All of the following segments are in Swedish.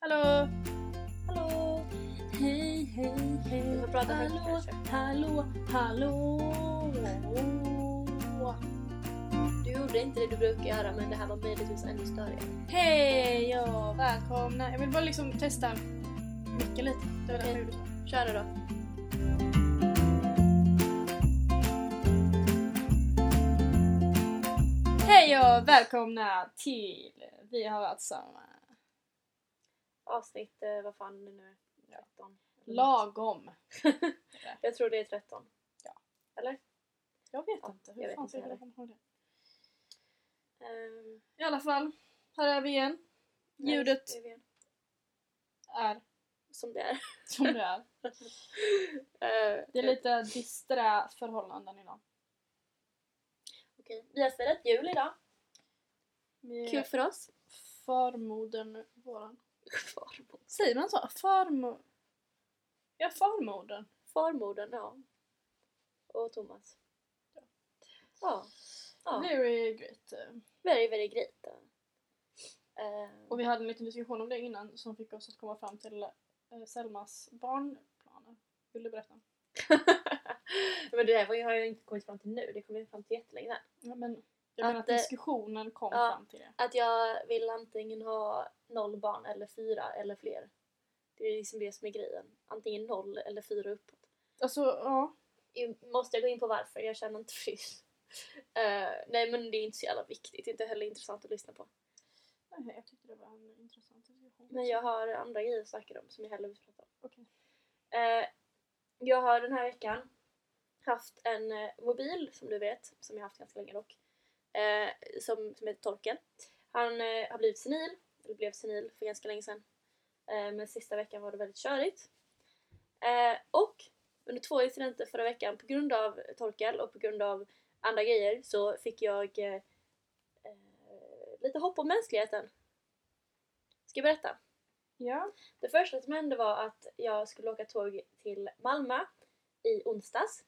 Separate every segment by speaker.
Speaker 1: Hallå! Hallå!
Speaker 2: Hej, hej, hej.
Speaker 1: Du får prata högt
Speaker 2: hallå,
Speaker 1: kanske.
Speaker 2: hallå, hallå.
Speaker 1: Du gjorde inte det du brukar göra men det här var möjligtvis ännu större.
Speaker 2: Hej och
Speaker 1: Välkomna! Jag vill bara liksom testa mycket lite. Det var därför jag gjorde så. Kör nu då.
Speaker 2: Hej och välkomna till Vi har alltså varit samma.
Speaker 1: Avsnitt, eh, vad fan är det nu? 13.
Speaker 2: Lagom.
Speaker 1: Jag tror det är 13.
Speaker 2: Ja.
Speaker 1: Eller?
Speaker 2: Jag vet
Speaker 1: Ja,
Speaker 2: inte.
Speaker 1: jag
Speaker 2: Hur
Speaker 1: vet
Speaker 2: fan
Speaker 1: inte
Speaker 2: ska jag
Speaker 1: heller.
Speaker 2: komma ihåg det?
Speaker 1: Ehm,
Speaker 2: I alla fall, här är vi igen.
Speaker 1: nej,
Speaker 2: Ljudet
Speaker 1: det är vi.
Speaker 2: är
Speaker 1: Som det är.
Speaker 2: som det är.
Speaker 1: Eh,
Speaker 2: Det är lite dystra förhållanden idag.
Speaker 1: Okej, vi har firat jul idag.
Speaker 2: Vi är
Speaker 1: Kul för oss.
Speaker 2: Förmodern våran.
Speaker 1: Farmor.
Speaker 2: Säger man så? Förmo... Ja, förmodern.
Speaker 1: Farmodern, ja. Och Thomas. Ja. ja.
Speaker 2: Very great. eh,
Speaker 1: Very, very great. Eh,
Speaker 2: Och vi hade en liten diskussion om det innan som fick oss att komma fram till eh, Selmas barnplaner. Vill du berätta?
Speaker 1: men det där var ju- har jag inte kommit fram till nu, det kom jag fram till jättelänge sedan.
Speaker 2: Ja, men jag menar att
Speaker 1: Att, eh,
Speaker 2: diskussionen kom
Speaker 1: ja.
Speaker 2: fram till det.
Speaker 1: Att jag vill antingen ha noll barn eller fyra eller fler. Det är liksom det som är grejen. Antingen noll eller fyra uppåt.
Speaker 2: Alltså, ja.
Speaker 1: Jag- Måste jag gå in på varför? Jag känner inte för det. Eh, nej men det är inte så jävla viktigt, inte heller intressant att lyssna på.
Speaker 2: Nej, jag tyckte det var en intressant diskussion.
Speaker 1: Men jag har andra grejer att snacka om som jag hellre vill prata om.
Speaker 2: Okej.
Speaker 1: Eh, jag har den här veckan haft en eh, mobil som du vet, som jag haft ganska länge dock, eh, som, som heter Torken. Han eh, har blivit senil, eller blev senil för ganska länge sedan. Eh, men sista veckan var det väldigt körigt. Eh, och under två incidenter förra veckan på grund av Torkel och på grund av andra grejer så fick jag eh, eh, lite hopp om mänskligheten. Ska jag berätta?
Speaker 2: Ja.
Speaker 1: Det första som hände var att jag skulle åka tåg till Malmö i onsdags.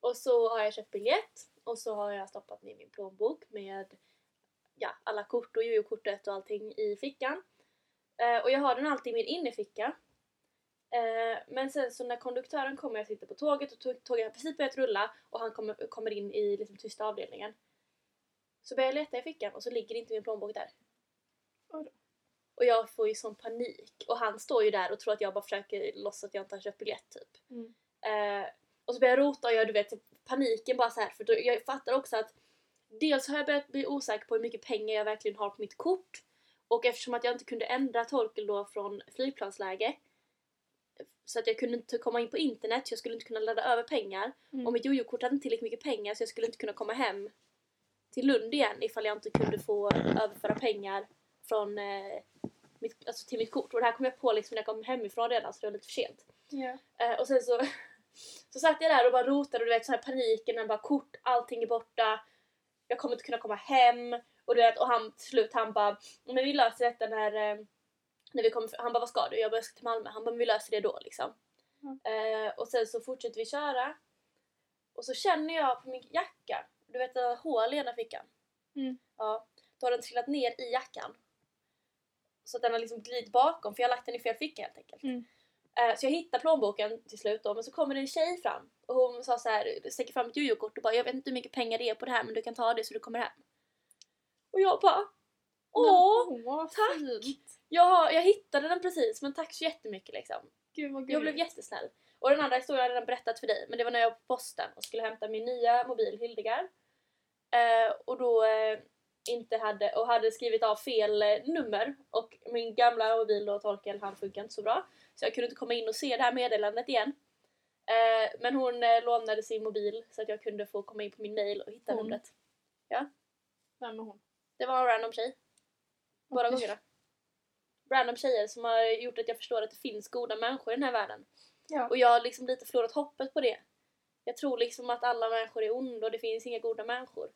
Speaker 1: Och så har jag köpt biljett och så har jag stoppat ner min plånbok med ja, alla kort och jojo-kortet och allting i fickan. Eh, och jag har den alltid i min innerficka. Eh, men sen så när konduktören kommer, jag sitter på tåget och tå- tåget har precis börjat rulla och han kommer, kommer in i liksom, tysta avdelningen. Så börjar jag leta i fickan och så ligger inte min plånbok där.
Speaker 2: Oj då.
Speaker 1: Och jag får ju sån panik. Och han står ju där och tror att jag bara försöker låtsas att jag inte har köpt biljett typ.
Speaker 2: Mm.
Speaker 1: Eh, och så börjar jag rota och jag du vet paniken bara så här för då, jag fattar också att dels har jag börjat bli osäker på hur mycket pengar jag verkligen har på mitt kort och eftersom att jag inte kunde ändra Torkel då från flygplansläge så att jag kunde inte komma in på internet, så jag skulle inte kunna ladda över pengar
Speaker 2: Mm.
Speaker 1: och mitt jojo-kort hade inte tillräckligt mycket pengar så jag skulle inte kunna komma hem till Lund igen ifall jag inte kunde få överföra pengar från eh, mitt, alltså till mitt kort. Och det här kom jag på liksom när jag kom hemifrån redan så det var lite för sent.
Speaker 2: Ja.
Speaker 1: Eh, och sen så, så satt jag där och bara rotade och du vet så här paniken, men bara kort, allting är borta. Jag kommer inte kunna komma hem. Och du vet, och han till slut han bara, men vi löser detta när, eh, när vi kommer, han bara vad ska du? Jag bara jag ska till Malmö. Han bara, men vi löser det då liksom.
Speaker 2: Mm.
Speaker 1: Eh, och sen så fortsätter vi köra. Och så känner jag på min jacka, du vet det här hål i ena fickan.
Speaker 2: Mm.
Speaker 1: Ja, då har den trillat ner i jackan. Så att den har liksom glidit bakom för jag har lagt den i fel ficka helt enkelt.
Speaker 2: Mm.
Speaker 1: Eh, Så jag hittar plånboken till slut då, men så kommer det en tjej fram och hon sa så här, sträcker fram ett jojokort och bara jag vet inte hur mycket pengar det är på det här men du kan ta det så du kommer hem. Och jag bara Åh!
Speaker 2: Men, åh, vad
Speaker 1: tack!
Speaker 2: fint.
Speaker 1: Jag, har- jag hittade den precis men tack så jättemycket liksom.
Speaker 2: Gud vad
Speaker 1: Jag blev jättesnäll. Och den andra historien har jag redan berättat för dig men det var när jag var på posten och skulle hämta min nya mobil Hildegard. Eh, och då eh, inte hade, och hade skrivit av fel eh, nummer och min gamla mobil då Torkel han funkar inte så bra. Så jag kunde inte komma in och se det här meddelandet igen. Eh, men hon eh, lånade sin mobil så att jag kunde få komma in på min mail och hitta
Speaker 2: Hon.
Speaker 1: numret.
Speaker 2: Vem är hon?
Speaker 1: Det var en random tjej. Båda
Speaker 2: Okej.
Speaker 1: gångerna. Random tjejer som har gjort att jag förstår att det finns goda människor i den här världen.
Speaker 2: Ja.
Speaker 1: Och jag har liksom lite förlorat hoppet på det. Jag tror liksom att alla människor är onda och det finns inga goda människor.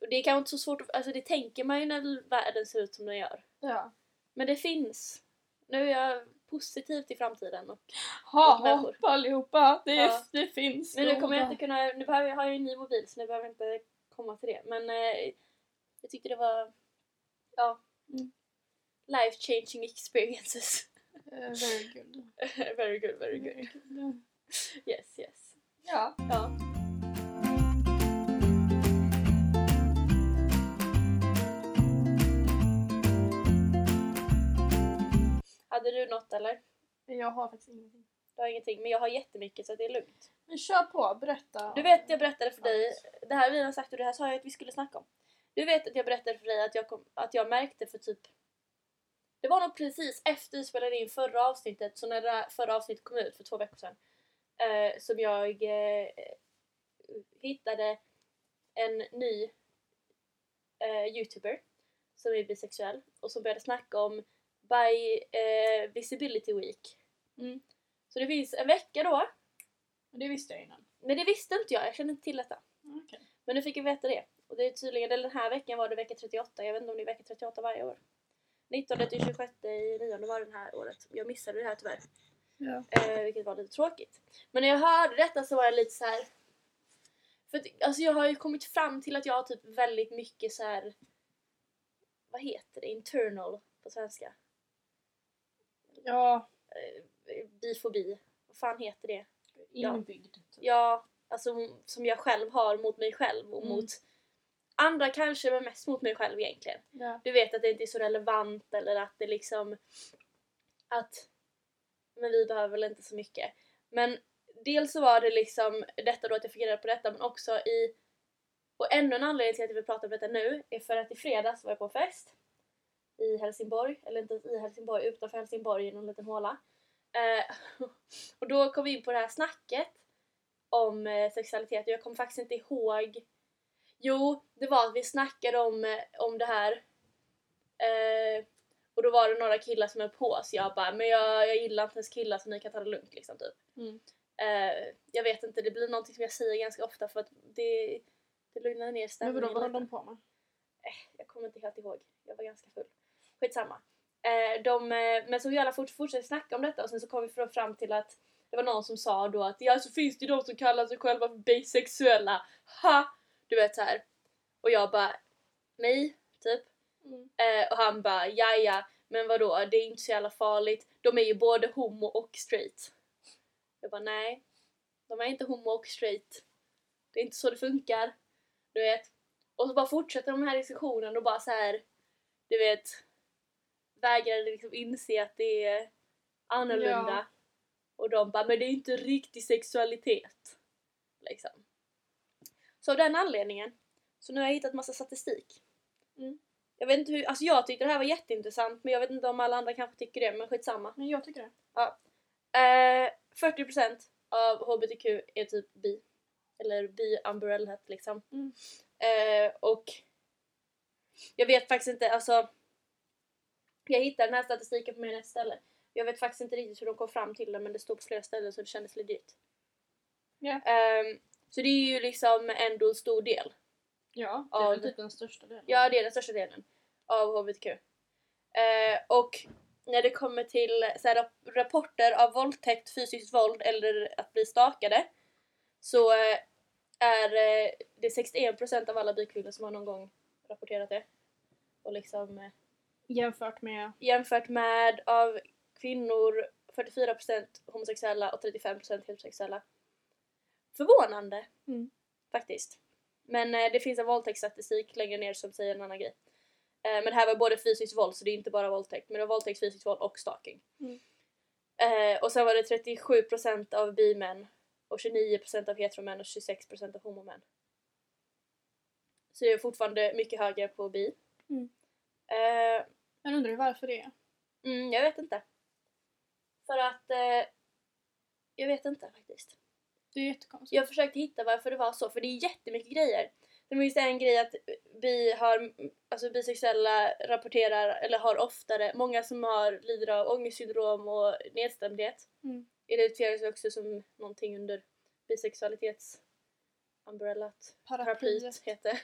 Speaker 1: Och det är kanske inte så svårt att, alltså det tänker man ju när världen ser ut som den gör.
Speaker 2: ja.
Speaker 1: Men det finns. Nu är jag positiv till framtiden. Och, Och
Speaker 2: Ha
Speaker 1: människor.
Speaker 2: hopp allihopa! Det, är-
Speaker 1: Ja.
Speaker 2: det finns
Speaker 1: men nu kommer jag
Speaker 2: goda.
Speaker 1: inte kunna, nu behöver jag, har jag ju en ny mobil så nu behöver jag inte komma till det. Men eh, jag tyckte det var, ja.
Speaker 2: Mm.
Speaker 1: Life changing experiences.
Speaker 2: Eh, very good.
Speaker 1: very good, very good.
Speaker 2: good.
Speaker 1: Yes, yes.
Speaker 2: Ja.
Speaker 1: Ja. Hade du något eller?
Speaker 2: Jag har faktiskt ingenting.
Speaker 1: Jag har ingenting, men jag har jättemycket så det är lugnt.
Speaker 2: Men kör på, berätta.
Speaker 1: Du vet, jag berättade för dig, det här vi har sagt och det här sa jag att vi skulle snacka om. Du vet att jag berättade för dig att jag, kom, att jag märkte för typ... Det var nog precis efter vi spelade in förra avsnittet, så när det här förra avsnittet kom ut för två veckor sedan, eh, som jag eh, hittade en ny eh, youtuber som är bisexuell och som började snacka om By eh, Visibility Week.
Speaker 2: Mm.
Speaker 1: Så det finns en vecka då
Speaker 2: Det visste jag innan.
Speaker 1: men det visste inte jag, jag kände inte till detta.
Speaker 2: Mm, Okej.
Speaker 1: Men nu fick jag veta det. Och det är tydligen, eller den här veckan var det vecka 38, jag vet inte om det är vecka 38 varje år. 19 till 26 i nionde var det här året. Jag missade det här tyvärr.
Speaker 2: Ja.
Speaker 1: Eh, vilket var lite tråkigt. Men när jag hörde detta så var jag lite så här. För att, alltså jag har ju kommit fram till att jag har typ väldigt mycket så här. Vad heter det? Internal på svenska.
Speaker 2: ja.
Speaker 1: Eh, bifobi. Vad fan heter det? Ja.
Speaker 2: Inbyggd. typ.
Speaker 1: jag, alltså, som jag själv har mot mig själv och
Speaker 2: Mm.
Speaker 1: mot andra kanske men mest mot mig själv egentligen.
Speaker 2: Ja.
Speaker 1: Du vet att det inte är så relevant eller att det liksom att men vi behöver väl inte så mycket. Men dels så var det liksom detta då att jag fick reda på detta men också i och ännu en anledning till att jag vill prata om detta nu är för att i fredags var jag på en fest i Helsingborg, eller inte i Helsingborg, utanför Helsingborg i någon liten håla. Eh, och då kom vi in på det här snacket om eh, sexualitet och jag kommer faktiskt inte ihåg Jo, det var att vi snackade om, eh, om det här eh, och då var det några killar som höll på så jag bara men jag, jag gillar inte ens killar så ni kan ta det lugnt liksom typ.
Speaker 2: Mm.
Speaker 1: Eh, jag vet inte, det blir någonting som jag säger ganska ofta för att det, det lugnar ner
Speaker 2: Men
Speaker 1: stämningen.
Speaker 2: vadå, vad höll
Speaker 1: lite.
Speaker 2: de på med?
Speaker 1: Jag kommer inte helt ihåg. Jag var ganska full. Skitsamma. Eh, de, eh, men så vi alla fort, fortsatte snacka om detta och sen så kom vi fram- fram till att det var någon som sa då att ja så finns det de som kallar sig själva för bisexuella. Ha! Du vet så här. Och jag bara nej, typ.
Speaker 2: Mm.
Speaker 1: Eh, och han bara ja ja men vadå det är inte så jävla farligt. De är ju både homo och straight. Jag bara nej. De är inte homo och straight. Det är inte så det funkar. Du vet. Och så bara fortsätter de här diskussionen och bara så här, du vet, vägrar liksom inse att det är
Speaker 2: Ja.
Speaker 1: annorlunda. Och de bara, men det är inte riktig sexualitet. Liksom. Så av den anledningen, så nu har jag hittat massa statistik.
Speaker 2: Mm.
Speaker 1: Jag vet inte hur, alltså jag tyckte det här var jätteintressant men jag vet inte om alla andra kanske tycker det, men skitsamma.
Speaker 2: Men jag tycker det.
Speaker 1: Eh, 40% av HBTQ är typ bi. Eller bi-umbrellat liksom.
Speaker 2: Mm.
Speaker 1: Eh, och jag vet faktiskt inte, alltså. Jag hittade den här statistiken på min rätt ställe. Jag vet faktiskt inte riktigt hur de kom fram till det men det stod på flera ställen så det kändes legit.
Speaker 2: Ja.
Speaker 1: Ehm, så det är ju liksom ändå en stor del.
Speaker 2: Ja, det är väl
Speaker 1: Av-
Speaker 2: typ den största delen.
Speaker 1: Ja, det är den största delen av HBTQ. Eh, och när det kommer till så här, rap- rapporter av våldtäkt, fysiskt våld eller att bli stakade så eh, är eh, det 61% av alla bikvinnor som har någon gång rapporterat det. Och liksom eh,
Speaker 2: Jämfört med...
Speaker 1: jämfört med av kvinnor 44% homosexuella och 35% heterosexuella. Förvånande!
Speaker 2: Mm.
Speaker 1: Faktiskt. Men eh, det finns en våldtäktsstatistik längre ner som säger en annan grej. Eh, men det här var både fysiskt våld så det är inte bara våldtäkt men det var våldtäkt, fysiskt våld och stalking.
Speaker 2: Mm.
Speaker 1: Eh, och sen var det 37% av bimän och 29% av heteromän och 26% av homomän. Så det är fortfarande mycket högre på bi.
Speaker 2: Mm.
Speaker 1: Eh,
Speaker 2: Jag undrar ju varför det är.
Speaker 1: Mm, jag vet inte. För att... Eh, jag vet inte faktiskt.
Speaker 2: Det är jättekonstigt.
Speaker 1: Jag försökte hitta varför det var så, för det är jättemycket grejer. Det finns en grej att vi har, alltså bisexuella rapporterar, eller har oftare, många som har, lider av ångestsyndrom och nedstämdhet
Speaker 2: Mm.
Speaker 1: identifierar sig också som någonting under bisexualitets umbrellat paraplyet heter.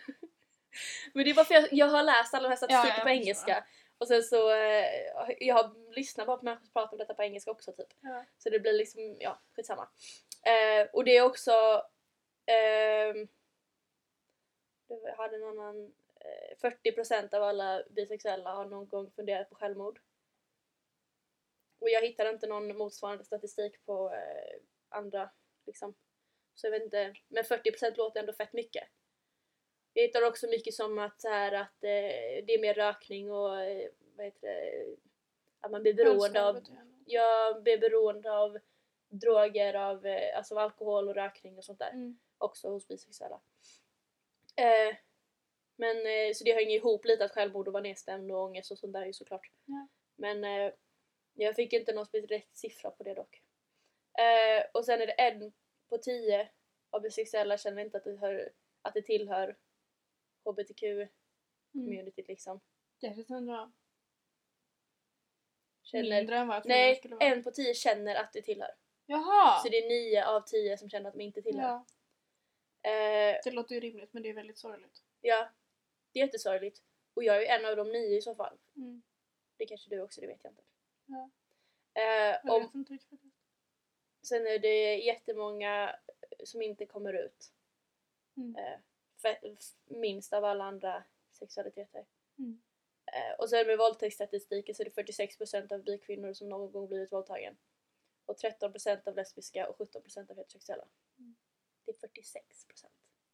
Speaker 1: Men det är bara för jag, jag har läst alla de här statistikerna
Speaker 2: Ja, jag
Speaker 1: på
Speaker 2: förstår.
Speaker 1: engelska. Och sen så, eh, jag har lyssnat bara på människor som pratar om detta på engelska också typ.
Speaker 2: Ja.
Speaker 1: Så det blir liksom, ja skitsamma. Eh, och det är också... ehm, jag hade en annan eh, 40% av alla bisexuella har någon gång funderat på självmord. Och jag hittade inte någon motsvarande statistik på eh, andra liksom. Så jag vet inte, men 40% låter ändå fett mycket. Jag hittar också mycket som att, så här, att eh, det är mer rökning och eh, vad heter det, att man blir beroende av
Speaker 2: Självskadebeteende.
Speaker 1: jag blir beroende av droger, av, eh, alltså av alkohol och rökning och sånt där.
Speaker 2: Mm.
Speaker 1: Också hos bisexuella. Eh, men eh, så det hänger ihop lite att självmord och vara nedstämd och ångest och sånt där ju såklart.
Speaker 2: Ja.
Speaker 1: Men eh, jag fick inte någon specifik siffra på det dock. Eh, och sen är det en på tio av bisexuella känner inte att det, hör, att det tillhör hbtq-communityt
Speaker 2: Mm.
Speaker 1: liksom.
Speaker 2: Det känns ändå
Speaker 1: Känner,
Speaker 2: mindre än vad jag trodde det
Speaker 1: nej,
Speaker 2: skulle vara.
Speaker 1: en på tio känner att det tillhör.
Speaker 2: Jaha!
Speaker 1: Så det är nio av tio som känner att de inte tillhör.
Speaker 2: ja.
Speaker 1: Eh,
Speaker 2: det låter ju rimligt men det är väldigt sorgligt.
Speaker 1: ja, det är jättesorgligt. Och jag är ju en av de nio i så fall.
Speaker 2: Mm.
Speaker 1: Det kanske du också, det vet jag inte.
Speaker 2: Ja. Mm.
Speaker 1: Eh,
Speaker 2: Jag
Speaker 1: om,
Speaker 2: vet inte riktigt.
Speaker 1: sen är det jättemånga som inte kommer ut.
Speaker 2: Mm.
Speaker 1: Eh, fe- f- minst av alla andra sexualiteter.
Speaker 2: Mm.
Speaker 1: Eh, och sen med våldtäktsstatistiken så är det 46% av bikvinnor som någon gång blivit våldtagen. Och 13% av lesbiska och 17% av heterosexuella.
Speaker 2: Mm.
Speaker 1: Det är 46%.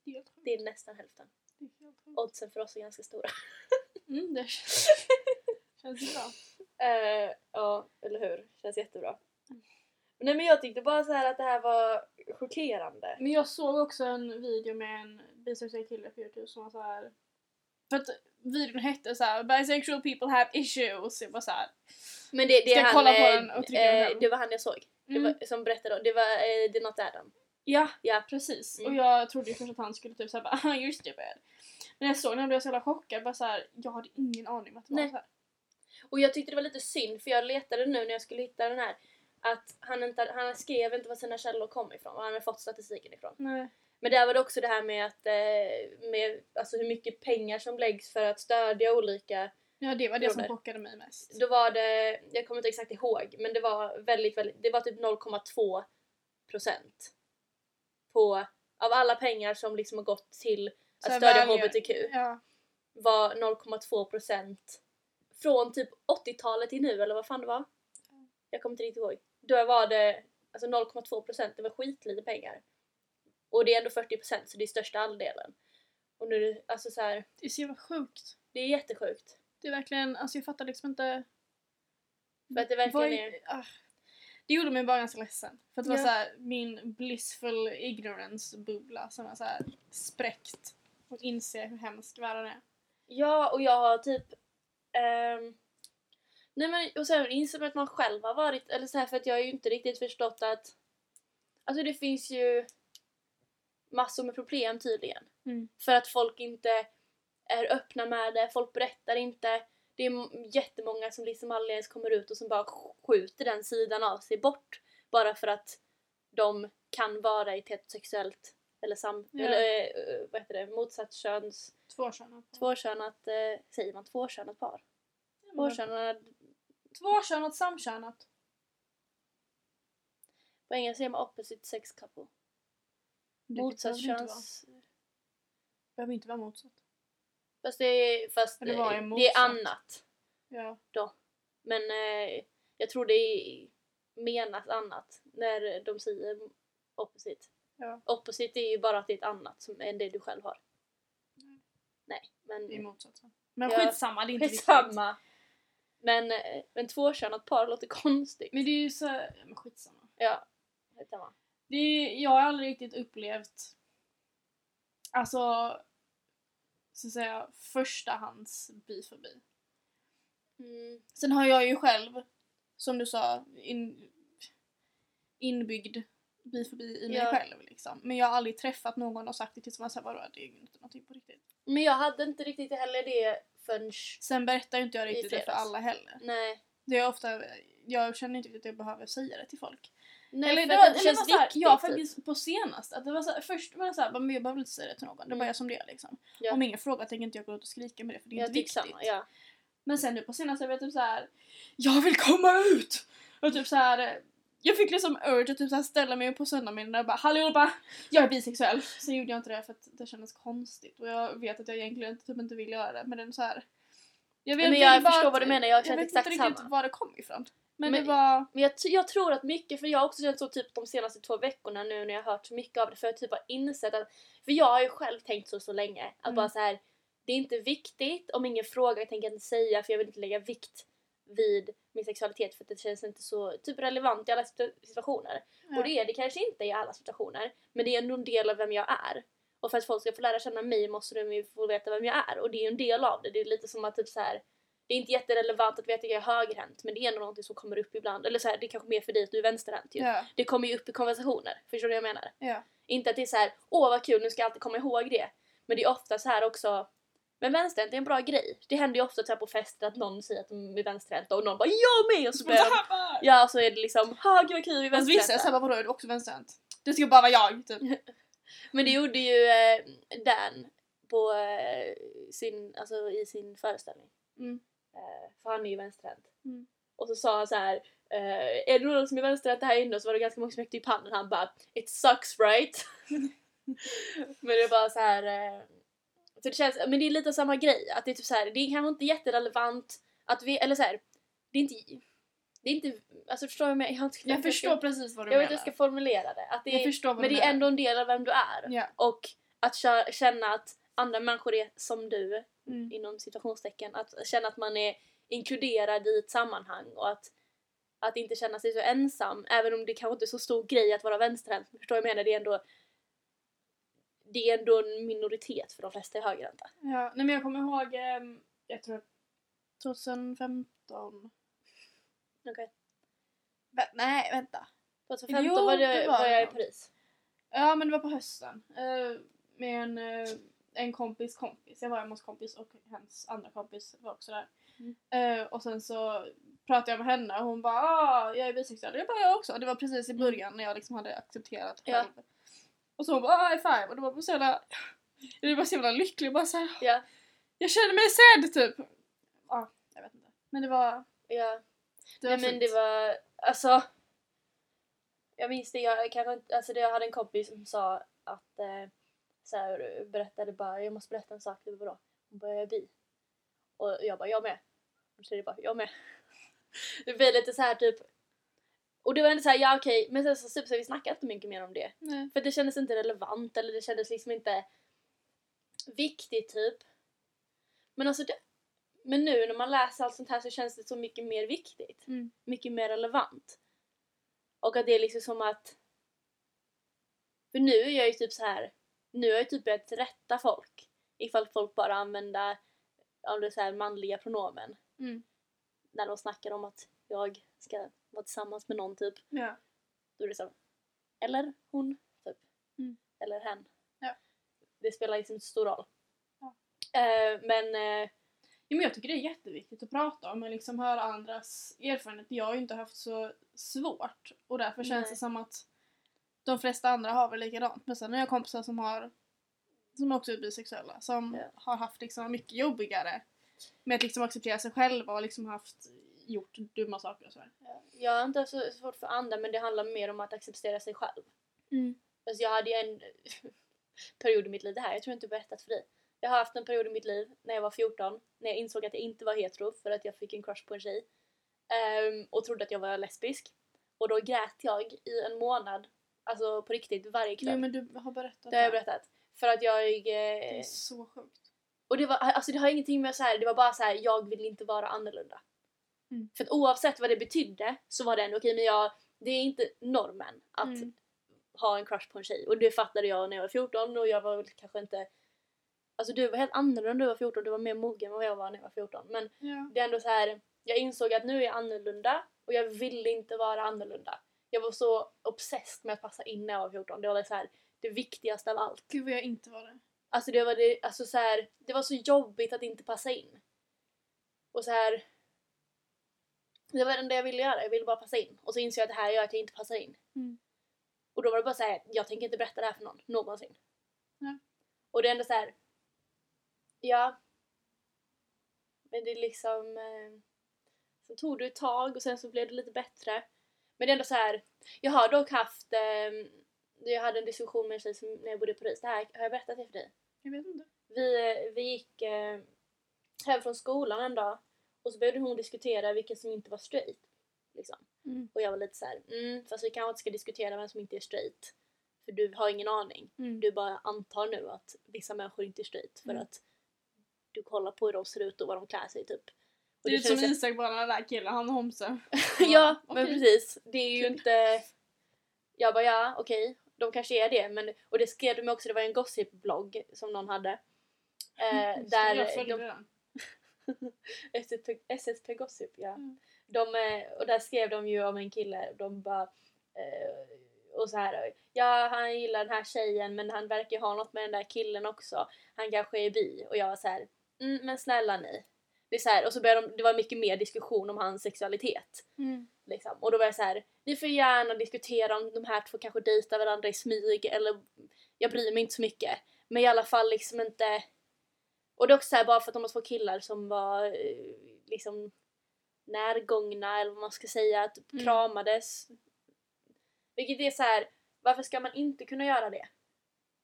Speaker 2: Det är helt sjukt.
Speaker 1: Det är nästan hälften.
Speaker 2: Det är helt sjukt.
Speaker 1: Oddsen för oss är ganska stora.
Speaker 2: Mm, det känns, känns ju bra.
Speaker 1: Eh, ja, eller hur? Känns jättebra. Nej men jag tyckte bara så här att det här var chockerande.
Speaker 2: Men jag såg också en video med en bisexuell kille på youtube som var så här. För att videon hette så här: bisexual people have issues. Jag bara såhär.
Speaker 1: Men det, det
Speaker 2: Ska
Speaker 1: han,
Speaker 2: kolla på
Speaker 1: eh,
Speaker 2: den och trycka den
Speaker 1: eh,
Speaker 2: hem.
Speaker 1: Det var han jag såg.
Speaker 2: Mm.
Speaker 1: Det var, som berättade om, det var eh, det är något Adam.
Speaker 2: Ja,
Speaker 1: Ja.
Speaker 2: precis.
Speaker 1: Mm.
Speaker 2: Och jag trodde ju först att han skulle typ såhär bara "Ah, you're stupid. Men jag såg den och blev så jävla chockad. Bara såhär, jag hade ingen aning om att det var
Speaker 1: Nej.
Speaker 2: såhär.
Speaker 1: Och jag tyckte det var lite synd för jag letade nu när jag skulle hitta den här att han, inte, han skrev inte var sina källor kom ifrån, var han hade fått statistiken ifrån.
Speaker 2: Nej.
Speaker 1: Men där var det också det här med att eh, med, alltså hur mycket pengar som läggs för att stödja olika
Speaker 2: Ja, det var det som
Speaker 1: Roller.
Speaker 2: chockade mig mest.
Speaker 1: Då var det, jag kommer inte exakt ihåg, men det var väldigt, väldigt det var typ 0,2 procent. På, av alla pengar som liksom har gått till
Speaker 2: Så
Speaker 1: att
Speaker 2: här
Speaker 1: stödja
Speaker 2: väljer-
Speaker 1: HBTQ
Speaker 2: Ja.
Speaker 1: var 0,2 procent från typ 80-talet till nu eller vad fan det var. Jag kommer inte riktigt ihåg. Då var det alltså 0,2 procent, det var skitlite pengar. Och det är ändå 40 procent så det är största andelen. Och nu, är det- alltså så här,
Speaker 2: Det är så jävla sjukt.
Speaker 1: det är jättesjukt.
Speaker 2: Det är verkligen, alltså jag fattar liksom inte.
Speaker 1: För att det verkligen
Speaker 2: Vad
Speaker 1: är...
Speaker 2: ah. Det gjorde mig bara ganska ledsen. För att det var
Speaker 1: Ja.
Speaker 2: såhär, min blissful ignorance-bubbla som var såhär spräckt. Och inse hur hemsk världen är.
Speaker 1: Ja, och jag har typ... ehm, nej men, och sen inser man att man själv har varit... Eller så här, för att jag har ju inte riktigt förstått att... Alltså det finns ju massor med problem tydligen.
Speaker 2: Mm.
Speaker 1: För att folk inte är öppna med det, folk berättar inte. Det är m- jättemånga som liksom aldrig ens kommer ut och som bara skjuter den sidan av sig bort. Bara för att de kan vara i ett heterosexuellt eller, sam-
Speaker 2: Ja.
Speaker 1: eller eh, vad heter det, motsatt köns
Speaker 2: Tvåkönat.
Speaker 1: tvåkönat, eh, säger man tvåkönat par? Tvåkönad,
Speaker 2: Tvåkönat, samkönat.
Speaker 1: på engelska säger man opposite sex couple.
Speaker 2: Vilket
Speaker 1: Motsatt
Speaker 2: behöver inte vara-
Speaker 1: köns...
Speaker 2: Behöver inte vara motsatt.
Speaker 1: Fast det är, fast
Speaker 2: Eller vad är
Speaker 1: eh, det
Speaker 2: motsatt?
Speaker 1: är annat
Speaker 2: Ja.
Speaker 1: då. Men eh, jag tror det är menas annat när de säger opposite.
Speaker 2: Ja.
Speaker 1: Opposite är ju bara att det är ett annat som, än det du själv har. Nej,
Speaker 2: Det är
Speaker 1: men
Speaker 2: motsatsen. Men
Speaker 1: Ja.
Speaker 2: skitsamma, det är inte viktigt.
Speaker 1: skitsamma. Men, eh, men tvåkönat par låter konstigt.
Speaker 2: Men det är ju så... ja, Men skitsamma.
Speaker 1: Ja, skitsamma.
Speaker 2: Det är, jag har aldrig riktigt upplevt alltså så att säga förstahands bifobi.
Speaker 1: Mm.
Speaker 2: Sen har jag ju själv som du sa in, inbyggd bifobi i mig
Speaker 1: Ja.
Speaker 2: själv liksom. Men jag har aldrig träffat någon och sagt det till som såhär vadå det är ju inte någonting på riktigt.
Speaker 1: Men jag hade inte riktigt heller det förrän...
Speaker 2: Sen berättar ju inte jag
Speaker 1: I
Speaker 2: riktigt det för
Speaker 1: fredags.
Speaker 2: alla heller.
Speaker 1: Nej.
Speaker 2: Det är ofta, jag känner inte riktigt att jag behöver säga det till folk.
Speaker 1: Nej
Speaker 2: eller
Speaker 1: för
Speaker 2: det
Speaker 1: att
Speaker 2: var,
Speaker 1: det
Speaker 2: eller
Speaker 1: känns
Speaker 2: var såhär,
Speaker 1: viktigt.
Speaker 2: jag
Speaker 1: typ.
Speaker 2: faktiskt på senast, att det var såhär, först var det såhär, bara, men jag behöver inte säga det till någon, det är
Speaker 1: Mm.
Speaker 2: bara jag som det är liksom.
Speaker 1: Ja.
Speaker 2: Om ingen frågar tänker inte jag gå ut och skrika med det för det är
Speaker 1: jag
Speaker 2: inte
Speaker 1: tycker
Speaker 2: viktigt.
Speaker 1: samma. Ja.
Speaker 2: Men sen nu på senaste jag var jag typ såhär, jag vill komma ut! Och typ såhär, Jag fick liksom urge att typ så här ställa mig upp på söndagsmiddagen och bara Hallå allihopa! Jag är bisexuell! Sen gjorde jag inte det för att det kändes konstigt och jag vet att jag egentligen inte- typ inte vill göra det men den så här. Jag,
Speaker 1: Men jag
Speaker 2: vill bara
Speaker 1: förstår
Speaker 2: att-
Speaker 1: vad du menar, jag har känt
Speaker 2: vet
Speaker 1: exakt
Speaker 2: inte riktigt
Speaker 1: samma.
Speaker 2: var det kom ifrån. Men,
Speaker 1: Men-
Speaker 2: det var...
Speaker 1: Men jag, t- jag tror att mycket, för jag har också känt så typ de senaste två veckorna nu när jag har hört så mycket av det, för jag typ har insett att, för jag har ju själv tänkt så så länge, att
Speaker 2: Mm.
Speaker 1: bara så här, det är inte viktigt, om ingen frågar tänker jag inte säga för jag vill inte lägga vikt vid min sexualitet för att det känns inte så typ relevant i alla situ- situationer.
Speaker 2: Ja.
Speaker 1: Och det är det kanske inte i alla situationer, men det är ändå en del av vem jag är. Och för att folk ska få lära känna mig måste de ju få veta vem jag är och det är ju en del av det. Det är lite som att typ så här, det är inte jätterelevant att veta att jag är högerhänt men det är ändå någonting som kommer upp ibland. Eller så här, det är kanske mer för dig att du är vänsterhänt ju.
Speaker 2: Ja.
Speaker 1: Det kommer ju upp i konversationer, förstår du vad jag menar?
Speaker 2: Ja.
Speaker 1: Inte att det är så här, åh vad kul nu ska jag alltid komma ihåg det. Men det är ofta så här också, men vänsterhänt är en bra grej. Det händer ju ofta så här på fester att någon säger att de är vänsterhänta och någon bara jag med! Och så börjar de, ja och så är det liksom, ha gud vad kul vi är
Speaker 2: Fast vissa är
Speaker 1: vänsterhänta.
Speaker 2: såhär vadå är du också vänsterhänt? Du ska bara vara jag typ.
Speaker 1: Men
Speaker 2: Mm.
Speaker 1: det gjorde ju eh, Dan på eh, sin, alltså i sin föreställning.
Speaker 2: Mm.
Speaker 1: Eh, för han är ju vänsterhänt.
Speaker 2: Mm.
Speaker 1: Och så sa han så här. eh, är det någon som är vänsterhänt här inne? Och så var det ganska många som högt upp handen. Han bara It sucks right? men det är bara så här. eh, så det känns, men det är lite samma grej. Att det är typ så här, det är kanske inte jätterelevant att vi, eller så här, det är inte, det är inte, alltså förstår du vad jag menar? Jag, har inte-
Speaker 2: Jag förstår precis vad du
Speaker 1: jag vet
Speaker 2: menar.
Speaker 1: inte hur jag ska formulera det. Att det
Speaker 2: jag
Speaker 1: är,
Speaker 2: förstår vad
Speaker 1: men
Speaker 2: du
Speaker 1: det är
Speaker 2: menar.
Speaker 1: ändå en del av vem du är.
Speaker 2: Ja.
Speaker 1: Och att kö- känna att andra människor är som du,
Speaker 2: Mm.
Speaker 1: inom situationstecken. Att känna att man är inkluderad i ett sammanhang och att, att inte känna sig så ensam. Även om det kanske inte är så stor grej att vara vänsterhänt. Förstår du vad jag menar? Det är ändå det är ändå en minoritet för de flesta är högerhänta.
Speaker 2: Ja, nej men jag kommer ihåg, ehm, jag tror 2015.
Speaker 1: Okej.
Speaker 2: Vä- nej, vänta.
Speaker 1: 2015
Speaker 2: Jo,
Speaker 1: var,
Speaker 2: det
Speaker 1: det,
Speaker 2: var
Speaker 1: var jag i
Speaker 2: det.
Speaker 1: Paris.
Speaker 2: Ja men det var på hösten. Eh, med en, eh, en kompis kompis. Jag var hemma hos kompis och hennes andra kompis var också där.
Speaker 1: Mm.
Speaker 2: Eh, och sen så pratade jag med henne och hon bara ah, jag är bisexuell. Jag bara jag också. Det var precis i början när jag liksom hade accepterat
Speaker 1: Ja.
Speaker 2: själv. Och så hon bara ah, high five och det var bara så jävla, jag var så jävla lycklig och bara såhär
Speaker 1: Ja.
Speaker 2: jag känner mig sedd typ. Ja, jag vet inte. Men det var,
Speaker 1: Ja.
Speaker 2: det var
Speaker 1: Nej men
Speaker 2: fint.
Speaker 1: det var, alltså. Jag minns det, jag, kanske, inte- alltså det, jag hade en kompis som sa att, eh, så här, berättade bara, jag måste berätta en sak, det var bra. Hon bara, jag är bi. Och jag bara, jag med. Hon säger bara, jag med. Det blev lite så här typ, och det var ändå så här, ja okej, men sen så, typ, så vi snackade inte mycket mer om det.
Speaker 2: Nej.
Speaker 1: För det kändes inte relevant eller det kändes liksom inte viktigt typ. Men alltså det, men nu när man läser allt sånt här så känns det så mycket mer viktigt.
Speaker 2: Mm.
Speaker 1: Mycket mer relevant. Och att det är liksom som att för nu är jag ju typ så här. nu har jag typ börjat rätta folk. Ifall folk bara använder om det är så här manliga pronomen.
Speaker 2: Mm.
Speaker 1: När de snackar om att jag ska vara tillsammans med någon typ.
Speaker 2: Ja.
Speaker 1: Då är det så. Eller hon, typ.
Speaker 2: Mm.
Speaker 1: Eller hen.
Speaker 2: Ja.
Speaker 1: Det spelar liksom inte så stor roll.
Speaker 2: Ja.
Speaker 1: Eh, men eh,
Speaker 2: Ja, men jag tycker det är jätteviktigt att prata om och liksom höra andras erfarenheter. Jag har ju inte haft så svårt och därför känns
Speaker 1: Nej.
Speaker 2: det som att de flesta andra har väl likadant. Men sen har jag kompisar som har som också är bisexuella som
Speaker 1: Ja.
Speaker 2: har haft liksom mycket jobbigare med att liksom acceptera sig själva och liksom haft gjort dumma saker och sådär.
Speaker 1: jag har inte haft så svårt för andra men det handlar mer om att acceptera sig själv.
Speaker 2: Mm.
Speaker 1: Alltså jag hade ju en period i mitt liv, det här jag tror jag inte jag berättat för dig. Jag har haft en period i mitt liv när jag var 14 när jag insåg att jag inte var hetero för att jag fick en crush på en tjej ehm, och trodde att jag var lesbisk. Och då grät jag i en månad, alltså på riktigt varje kväll.
Speaker 2: Jo men du har berättat
Speaker 1: Det har jag berättat. För att jag...
Speaker 2: Det
Speaker 1: Eh,
Speaker 2: är så sjukt.
Speaker 1: och det var, alltså det har ingenting med så här, det var bara så här, jag vill inte vara annorlunda.
Speaker 2: Mm.
Speaker 1: För att oavsett vad det betydde så var det ändå okej men jag, det är inte normen att
Speaker 2: Mm.
Speaker 1: ha en crush på en tjej. Och det fattade jag när jag var 14 och jag var väl kanske inte... Alltså du var helt annorlunda när du var 14, du var mer mogen än vad jag var när jag var 14. Men
Speaker 2: Ja.
Speaker 1: det är ändå så här, jag insåg att nu är jag annorlunda och jag ville inte vara annorlunda. Jag var så obsessed med att passa in när jag var 14. Det var så här, det viktigaste av allt.
Speaker 2: Gud vad jag inte var det.
Speaker 1: Alltså det var, det, alltså så här, det var så jobbigt att inte passa in. Och så här. Det var det enda jag ville göra, jag ville bara passa in. Och så insåg jag att det här gör att jag inte passar in.
Speaker 2: Mm.
Speaker 1: Och då var det bara så här, jag tänker inte berätta det här för någon, någonsin.
Speaker 2: Nej.
Speaker 1: Och det är ändå så här. ja. Men det är liksom, eh, sen tog det ett tag och sen så blev det lite bättre. Men det är ändå så här. jag har dock haft, ehm, jag hade en diskussion med en tjej som, när jag bodde i Paris, det här har jag berättat det för dig?
Speaker 2: Jag vet inte.
Speaker 1: Vi, eh, vi gick eh, hem från skolan en dag och så började hon diskutera vilken som inte var straight. Liksom.
Speaker 2: Mm.
Speaker 1: Och jag var lite så här, mm, fast vi kanske inte ska diskutera vem som inte är straight. För du har ingen aning. Du bara antar nu att vissa människor inte är straight för
Speaker 2: Mm.
Speaker 1: att du kollar på hur de ser ut och vad de klär sig typ.
Speaker 2: Det är
Speaker 1: det
Speaker 2: lite som
Speaker 1: känns-
Speaker 2: Isak bara den där killen, han är homse.
Speaker 1: ja, men
Speaker 2: okej.
Speaker 1: precis. Det är ju
Speaker 2: Kul.
Speaker 1: inte... Jag bara, ja, okej. De kanske är det. Men... Och det skrev de också, det var en gossipblogg som någon hade. Eh,
Speaker 2: Mm, jag
Speaker 1: där
Speaker 2: följde
Speaker 1: de
Speaker 2: den.
Speaker 1: SSP, SSP Gossip, ja.
Speaker 2: Mm.
Speaker 1: De, eh, och där skrev de ju om en kille, de bara... Eh, och så här, ja han gillar den här tjejen men han verkar ju ha något med den där killen också. Han kanske är bi. Och jag var så här, mm, men snälla ni. Det, är så här, och så började de, det var mycket mer diskussion om hans sexualitet.
Speaker 2: Mm.
Speaker 1: Liksom. Och då var jag så här, ni får gärna diskutera om de här två kanske dejtar varandra i smyg eller jag bryr mig inte så mycket. Men i alla fall liksom inte... Och det är också så här, bara för att de var två killar som var eh, liksom närgångna eller vad man ska säga, att
Speaker 2: Mm.
Speaker 1: kramades. Vilket är så här, varför ska man inte kunna göra det?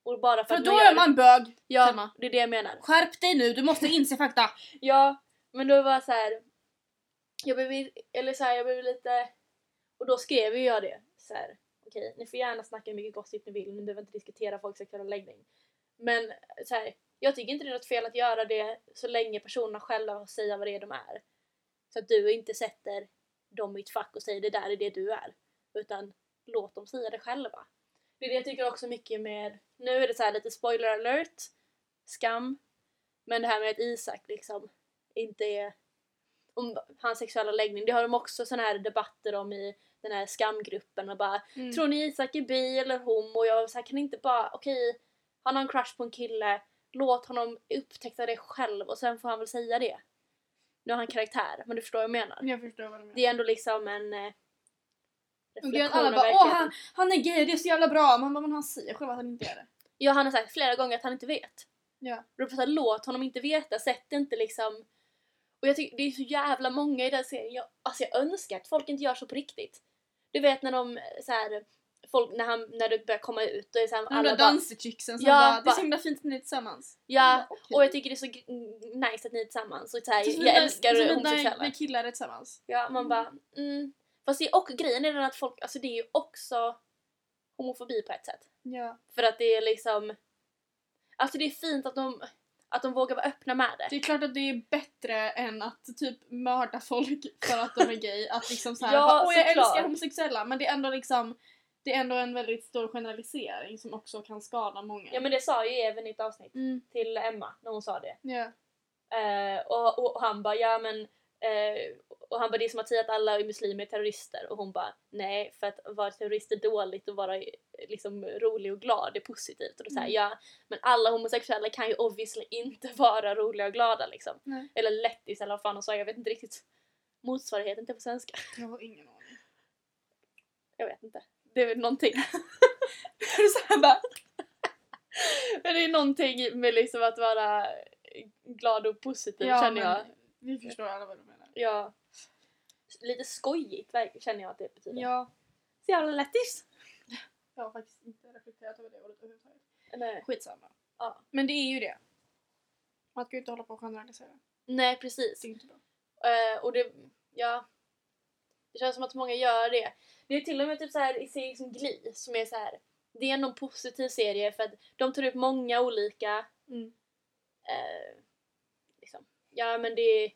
Speaker 1: Och bara för,
Speaker 2: För
Speaker 1: att
Speaker 2: då är
Speaker 1: gör-
Speaker 2: man bög!
Speaker 1: Ja,
Speaker 2: Selma.
Speaker 1: det är det jag menar.
Speaker 2: Skärp dig nu, du måste inse fakta!
Speaker 1: Ja, men då var jag så här. Jag blev, eller så här, jag blev lite... Och då skrev ju jag det. Så här, okej, ni får gärna snacka hur mycket gossip ni vill, ni behöver inte diskutera folks sexuella läggning. Men så här, jag tycker inte det är något fel att göra det så länge personerna själva får säga vad det är de är. Så att du inte sätter dem i ett fack och säger det där är det du är. Utan låt dem säga det själva. Det är det jag tycker också mycket med, nu är det så här lite spoiler alert, skam. Men det här med att Isak liksom inte är, om hans sexuella läggning, det har de också sådana här debatter om i den här skamgruppen och bara
Speaker 2: Mm.
Speaker 1: Tror ni Isak är bi eller homo? Och jag var så här, kan ni inte bara, okej, han har en crush på en kille, låt honom upptäcka det själv och sen får han väl säga det. Nu har han karaktär, men du förstår vad jag menar.
Speaker 2: Jag förstår vad du menar.
Speaker 1: Det är ändå liksom en eh,
Speaker 2: Och det är att
Speaker 1: reflektion
Speaker 2: alla
Speaker 1: av
Speaker 2: bara åh
Speaker 1: verkligheten.
Speaker 2: han, han är gay, det är så jävla bra! Man bara, men han säger själv att han inte är det.
Speaker 1: Ja, han har sagt flera gånger att han inte vet.
Speaker 2: Ja.
Speaker 1: Och då pratar jag, låt honom inte veta, sätt inte liksom... Och jag tycker det är så jävla många i den serien, jag, alltså jag önskar att folk inte gör så på riktigt. Du vet när de eh, så här, folk, när, han, när det börjar komma ut, då är det så här,
Speaker 2: De där
Speaker 1: alla bara,
Speaker 2: danserchicksen som
Speaker 1: Ja,
Speaker 2: bara, det är
Speaker 1: bara-
Speaker 2: så himla fint att ni är tillsammans.
Speaker 1: ja,
Speaker 2: Okej.
Speaker 1: och jag tycker det är så gr- nice att ni är tillsammans och så här,
Speaker 2: Det är som
Speaker 1: jag
Speaker 2: när- det är
Speaker 1: älskar
Speaker 2: som när-
Speaker 1: homosexuella.
Speaker 2: När killar är tillsammans.
Speaker 1: Ja, man bara, mm. Fast det är, och grejen är den att folk, alltså det är ju också homofobi på ett sätt.
Speaker 2: Ja.
Speaker 1: För att det är liksom... Alltså det är fint att de, att de vågar vara öppna med det.
Speaker 2: Det är klart att det är bättre än att typ mörda folk för att de är gay. Att liksom såhär,
Speaker 1: Ja,
Speaker 2: bara, åh jag
Speaker 1: såklart.
Speaker 2: älskar homosexuella. Men det är ändå liksom, det är ändå en väldigt stor generalisering som också kan skada många.
Speaker 1: Ja men det sa ju även i ett avsnitt
Speaker 2: Mm,
Speaker 1: till Emma när hon sa det.
Speaker 2: ja.
Speaker 1: Eh, och, och, och han bara ja men... eh, och han bara det är som att säga att alla är muslimer är terrorister och hon bara nej för att vara terrorist är dåligt och vara eh, liksom rolig och glad är positivt. Och då säger
Speaker 2: Mm.
Speaker 1: ja men alla homosexuella kan ju obviously inte vara roliga och glada liksom.
Speaker 2: Nej.
Speaker 1: Eller lättis eller vad fan hon sa, jag vet inte riktigt motsvarigheten till på svenska.
Speaker 2: Jag har ingen aning.
Speaker 1: Jag vet inte. Det är väl någonting.
Speaker 2: Är det såhär bara,
Speaker 1: Men det är någonting med liksom att vara glad och positiv
Speaker 2: ja,
Speaker 1: känner
Speaker 2: men
Speaker 1: jag.
Speaker 2: Vi förstår alla vad du menar.
Speaker 1: Ja. Lite skojigt verk- känner jag att det betyder.
Speaker 2: Ja.
Speaker 1: Så jävla lättis!
Speaker 2: Jag har faktiskt inte reflekterat över det ordet överhuvudtaget.
Speaker 1: Nej.
Speaker 2: Skitsamma.
Speaker 1: Ja.
Speaker 2: Men det är ju det. Man ska ju inte hålla på och generalisera.
Speaker 1: Nej precis.
Speaker 2: Det är inte bra.
Speaker 1: Eh, och det, ja. Det känns som att många gör det. Det är till och med typ så här i serien som Glee som är så här. Det är ändå en positiv serie för att de tar upp många olika eh, liksom. Ja men det,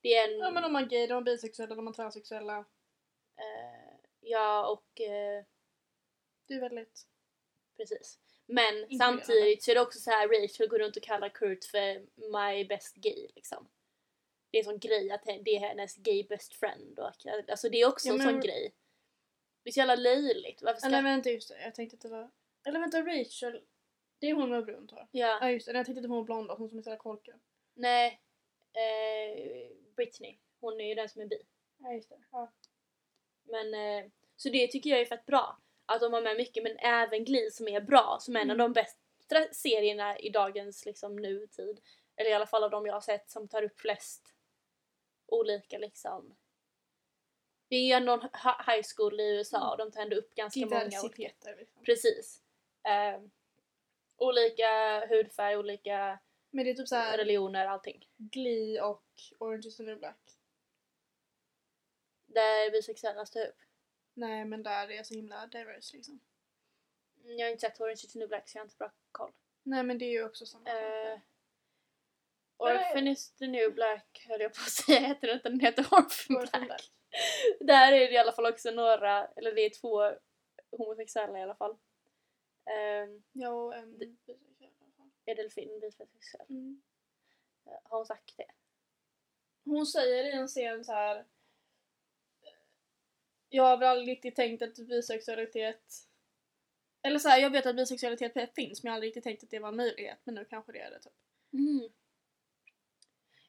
Speaker 1: det är en...
Speaker 2: Ja men om man är gay, de är bisexuella, de är transsexuella.
Speaker 1: eh, ja och... Eh,
Speaker 2: Det är väldigt...
Speaker 1: Precis. Men
Speaker 2: Inkluderande.
Speaker 1: samtidigt så är det också så här Rachel går runt och kallar Kurt för my best gay liksom. Det är en sån grej att det är hennes gay best friend. Och, alltså det är också
Speaker 2: Ja,
Speaker 1: en
Speaker 2: men-
Speaker 1: sån grej. Det är så jävla löjligt. Varför ska...
Speaker 2: Eller vänta just det, jag tänkte att det var... Eller vänta Rachel, det är hon med brunt hår.
Speaker 1: Ja.
Speaker 2: Ja just det, jag tänkte att hon var blond hon som är så jävla korkad.
Speaker 1: Nej. Eh, Britney. Hon är ju den som är bi.
Speaker 2: Ja just det. Ja.
Speaker 1: Men, eh, så det tycker jag är fett bra. Att de har med mycket men även Glee som är bra. Som är en av de bästa serierna i dagens liksom nutid. Eller i alla fall av de jag har sett som tar upp flest olika liksom Det är ju ändå en hi- high school i USA och de tar ändå upp ganska
Speaker 2: Typ
Speaker 1: många olika.
Speaker 2: Gitarrciteter liksom.
Speaker 1: Precis. Eh, olika hudfärg, olika
Speaker 2: Men det är typ såhär
Speaker 1: religioner, allting.
Speaker 2: Glee och Orange is the new black.
Speaker 1: Där är bisexuella står upp.
Speaker 2: Nej men där är jag så himla diverse liksom.
Speaker 1: Mm, Jag har inte sett Orange is the new black så jag har inte bra koll.
Speaker 2: Nej men det är ju också samma sak.
Speaker 1: Eh,
Speaker 2: Nej.
Speaker 1: Orphan is the new black höll jag på att säga, heter den inte, den heter Orphan
Speaker 2: Orphan
Speaker 1: black.
Speaker 2: Black.
Speaker 1: Där är det i alla fall också några, eller det är två homosexuella i alla fall. Eh,
Speaker 2: Ja och en bisexuell i alla fall.
Speaker 1: är delfin bisexuell?
Speaker 2: Mm.
Speaker 1: Eh, Har hon sagt det?
Speaker 2: Hon säger i en scen så här. Jag har väl aldrig riktigt tänkt att bisexualitet... Eller så här, jag vet att bisexualitet finns men jag har aldrig riktigt tänkt att det var en möjlighet men nu kanske det är det typ.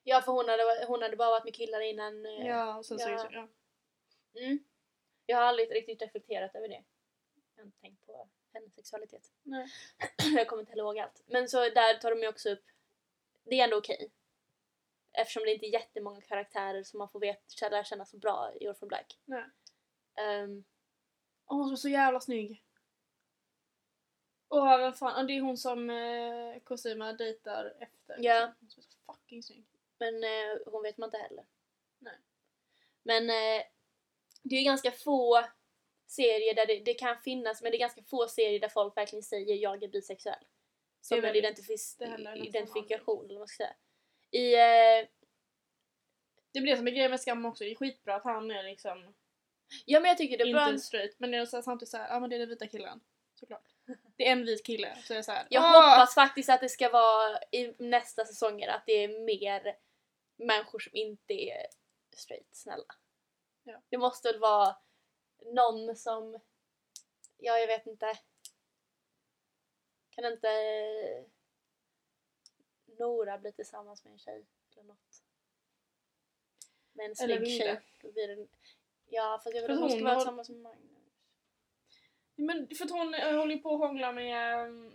Speaker 1: Ja för hon hade, hon hade bara varit med killar innan. eh,
Speaker 2: Ja, och sen så...
Speaker 1: Ja.
Speaker 2: Ja.
Speaker 1: Mm. Jag har aldrig riktigt reflekterat över det. Jag har inte tänkt på hennes sexualitet.
Speaker 2: Nej.
Speaker 1: jag kommer inte ihåg allt. Men så där tar de ju också upp, det är ändå okej. Eftersom det inte är jättemånga karaktärer som man får veta, lära känna så bra i Orphan Black.
Speaker 2: Nej.
Speaker 1: Ehm,
Speaker 2: Och hon som är så jävla snygg. Och vem fan, och det är hon som eh, Cosima dejtar efter. liksom.
Speaker 1: Ja.
Speaker 2: Hon som är så fucking snygg.
Speaker 1: men eh, hon vet man inte heller.
Speaker 2: Nej.
Speaker 1: Men eh, det är ju ganska få serier där det, det kan finnas, men det är ganska få serier där folk verkligen säger jag är bisexuell. Som en
Speaker 2: väldigt-
Speaker 1: identifis-
Speaker 2: det händer nästan
Speaker 1: identifikation eller vad man ska säga. I, eh,
Speaker 2: Det blir det som är grejen med Skam också, det är skitbra att han är liksom
Speaker 1: ja men jag tycker det är
Speaker 2: inte
Speaker 1: bra.
Speaker 2: en straight men det är så här, samtidigt såhär, ja ah, men det är den vita killen. Såklart. Det är en vit kille. Så jag är såhär,
Speaker 1: Jag
Speaker 2: "Ah!"
Speaker 1: hoppas faktiskt att det ska vara i nästa säsonger att det är mer människor som inte är straight, snälla.
Speaker 2: Ja.
Speaker 1: Det måste väl vara någon som, ja jag vet inte. Kan inte eh, Nora bli tillsammans med en tjej eller något? Med en
Speaker 2: Eller
Speaker 1: snygg
Speaker 2: Vilde.
Speaker 1: tjej. Då blir det, ja fast jag vill
Speaker 2: Fast
Speaker 1: att hon ska
Speaker 2: hon
Speaker 1: vara
Speaker 2: har-
Speaker 1: tillsammans med Magnus.
Speaker 2: Men för att hon eh, håller ju på och hånglar med, ehm,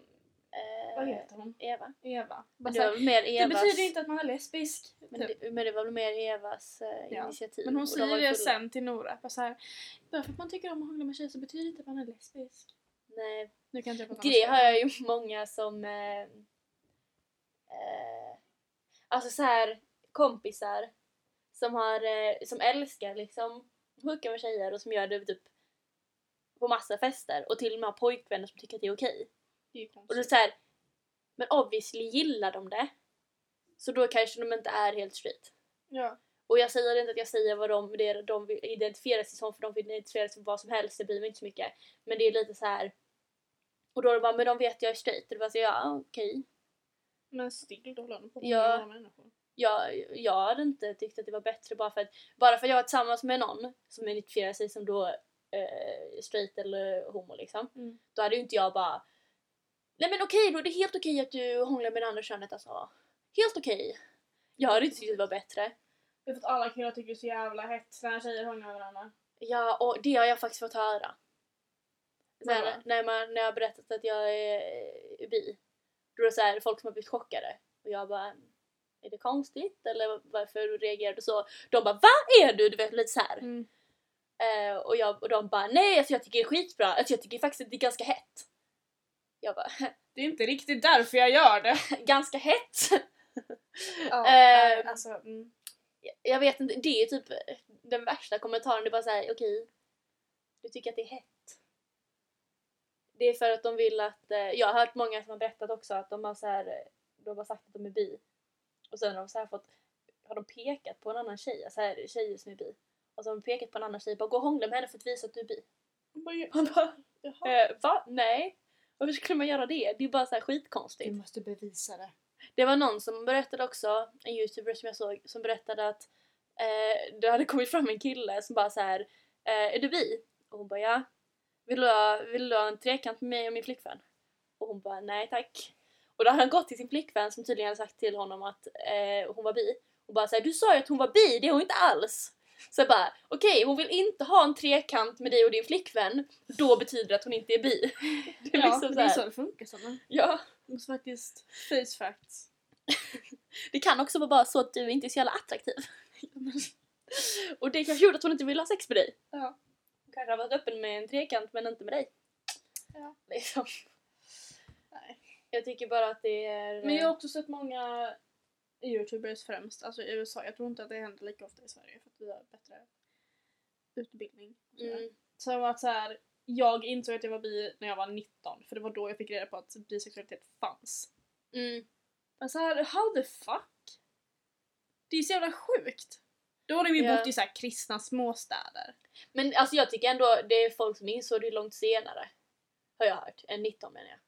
Speaker 1: Eh,
Speaker 2: vad heter hon?
Speaker 1: Eva.
Speaker 2: Eva.
Speaker 1: Men
Speaker 2: Bara
Speaker 1: det
Speaker 2: så här,
Speaker 1: var väl mer
Speaker 2: det
Speaker 1: Evas...
Speaker 2: betyder inte att man är lesbisk.
Speaker 1: Men
Speaker 2: typ.
Speaker 1: det, men det var väl mer Evas eh,
Speaker 2: Ja,
Speaker 1: initiativ.
Speaker 2: Men hon
Speaker 1: och de
Speaker 2: säger
Speaker 1: var ju
Speaker 2: det
Speaker 1: fulla.
Speaker 2: sen till Nora. Bara, så här, bara för att man tycker om att hångla med tjejer så betyder det inte att man är lesbisk.
Speaker 1: Nej,
Speaker 2: Nu kan inte jag prata
Speaker 1: det
Speaker 2: om
Speaker 1: har jag ju många som... Eh, eh, alltså så här kompisar som, har, eh, som älskar liksom hooka med tjejer och som gör det typ på massa fester och till och med har pojkvänner som tycker att det är okej.
Speaker 2: Det är
Speaker 1: Och då är det
Speaker 2: konstigt.
Speaker 1: så här, men obviously gillar de det. Så då kanske de inte är helt straight.
Speaker 2: Ja.
Speaker 1: Och jag säger inte att jag säger vad de, det är de vill identifiera sig som för de vill identifiera sig som vad som helst, det bryr mig inte så mycket. Men det är lite så här. Och då är det bara, men de vet jag är straight. Och då bara så, ja okej.
Speaker 2: Men still, då håller hon på att
Speaker 1: Ja.
Speaker 2: hångla med människor.
Speaker 1: Jag, jag hade inte tyckt att det var bättre bara för att, bara för att jag var tillsammans med någon som identifierar sig som då eh, straight eller homo liksom.
Speaker 2: Mm.
Speaker 1: Då hade ju inte jag bara, nej men okej då, är det är helt okej att du hånglar med det andra könet alltså. Helt okej. Jag hade inte tyckt att det var bättre.
Speaker 2: Det är för att alla killar tycker det är så jävla hett när tjejer hånglar med varandra.
Speaker 1: Ja, och det har jag faktiskt fått höra.
Speaker 2: Vadå?
Speaker 1: Sen, när, man, när jag har berättat att jag är eh, bi, då är det så här, folk som har blivit chockade. Och jag bara, är det konstigt? Eller varför reagerar du så? De bara, vad är du? Du vet, lite så här.
Speaker 2: Mm.
Speaker 1: Eh, och, jag, och de bara, nej alltså jag tycker det är skitbra. Alltså jag tycker faktiskt att det är ganska hett. Jag bara,
Speaker 2: Det är inte riktigt därför jag gör det.
Speaker 1: ganska hett?
Speaker 2: Ja,
Speaker 1: nej,
Speaker 2: alltså, mm.
Speaker 1: jag vet inte, det är typ den värsta kommentaren. Det är bara såhär, okej, du tycker att det är hett. Det är för att de vill att, eh, jag har hört många som har berättat också att de har så här, eh, de har sagt att de är bi. Och sen har de så här fått, har de pekat på en annan tjej, så här tjejer som är bi. Och så har de pekat på en annan tjej, bara gå och hångla med henne för att visa att du är bi. Man bara,
Speaker 2: Jaha.
Speaker 1: eh, va? Nej. Varför skulle man göra det? Det är bara så här skitkonstigt.
Speaker 2: måste bevisa det.
Speaker 1: Det var någon som berättade också, en youtuber som jag såg, som berättade att eh, det hade kommit fram en kille som bara så här, eh, är du bi? Och hon bara ja. Vill du, ha, vill du ha en trekant med mig och min flickvän? Och hon bara nej tack. Och då hade han gått till sin flickvän som tydligen hade sagt till honom att eh, hon var bi. Och bara såhär, du sa ju att hon var bi, det är hon inte alls. Så jag bara, okej hon vill inte ha en trekant med dig och din flickvän, då betyder det att hon inte är bi. Det är
Speaker 2: Ja,
Speaker 1: liksom
Speaker 2: det är
Speaker 1: såhär,
Speaker 2: så det funkar. Så. man
Speaker 1: ja.
Speaker 2: måste faktiskt face facts.
Speaker 1: Det kan också vara bara så att du inte är så jävla attraktiv. Och det kanske gjorde att hon inte ville ha sex med dig.
Speaker 2: Ja.
Speaker 1: Hon kanske har varit öppen med en trekant men inte med dig.
Speaker 2: Ja.
Speaker 1: Liksom.
Speaker 2: Nej.
Speaker 1: Jag tycker bara att det är...
Speaker 2: Men jag har också sett många youtubers främst, alltså i USA. Jag tror inte att det händer lika ofta i Sverige för att vi har bättre utbildning. och sådär.
Speaker 1: Mm.
Speaker 2: Som att så här, jag insåg att jag var bi när jag var 19 för det var då jag fick reda på att bisexualitet fanns.
Speaker 1: Mm.
Speaker 2: Men så här, how the fuck? Det är ju så jävla sjukt. Då har vi
Speaker 1: Ja.
Speaker 2: bott i så här kristna småstäder.
Speaker 1: Men alltså jag tycker ändå det är folk som insåg det långt senare. Har jag hört. Än 19 menar jag.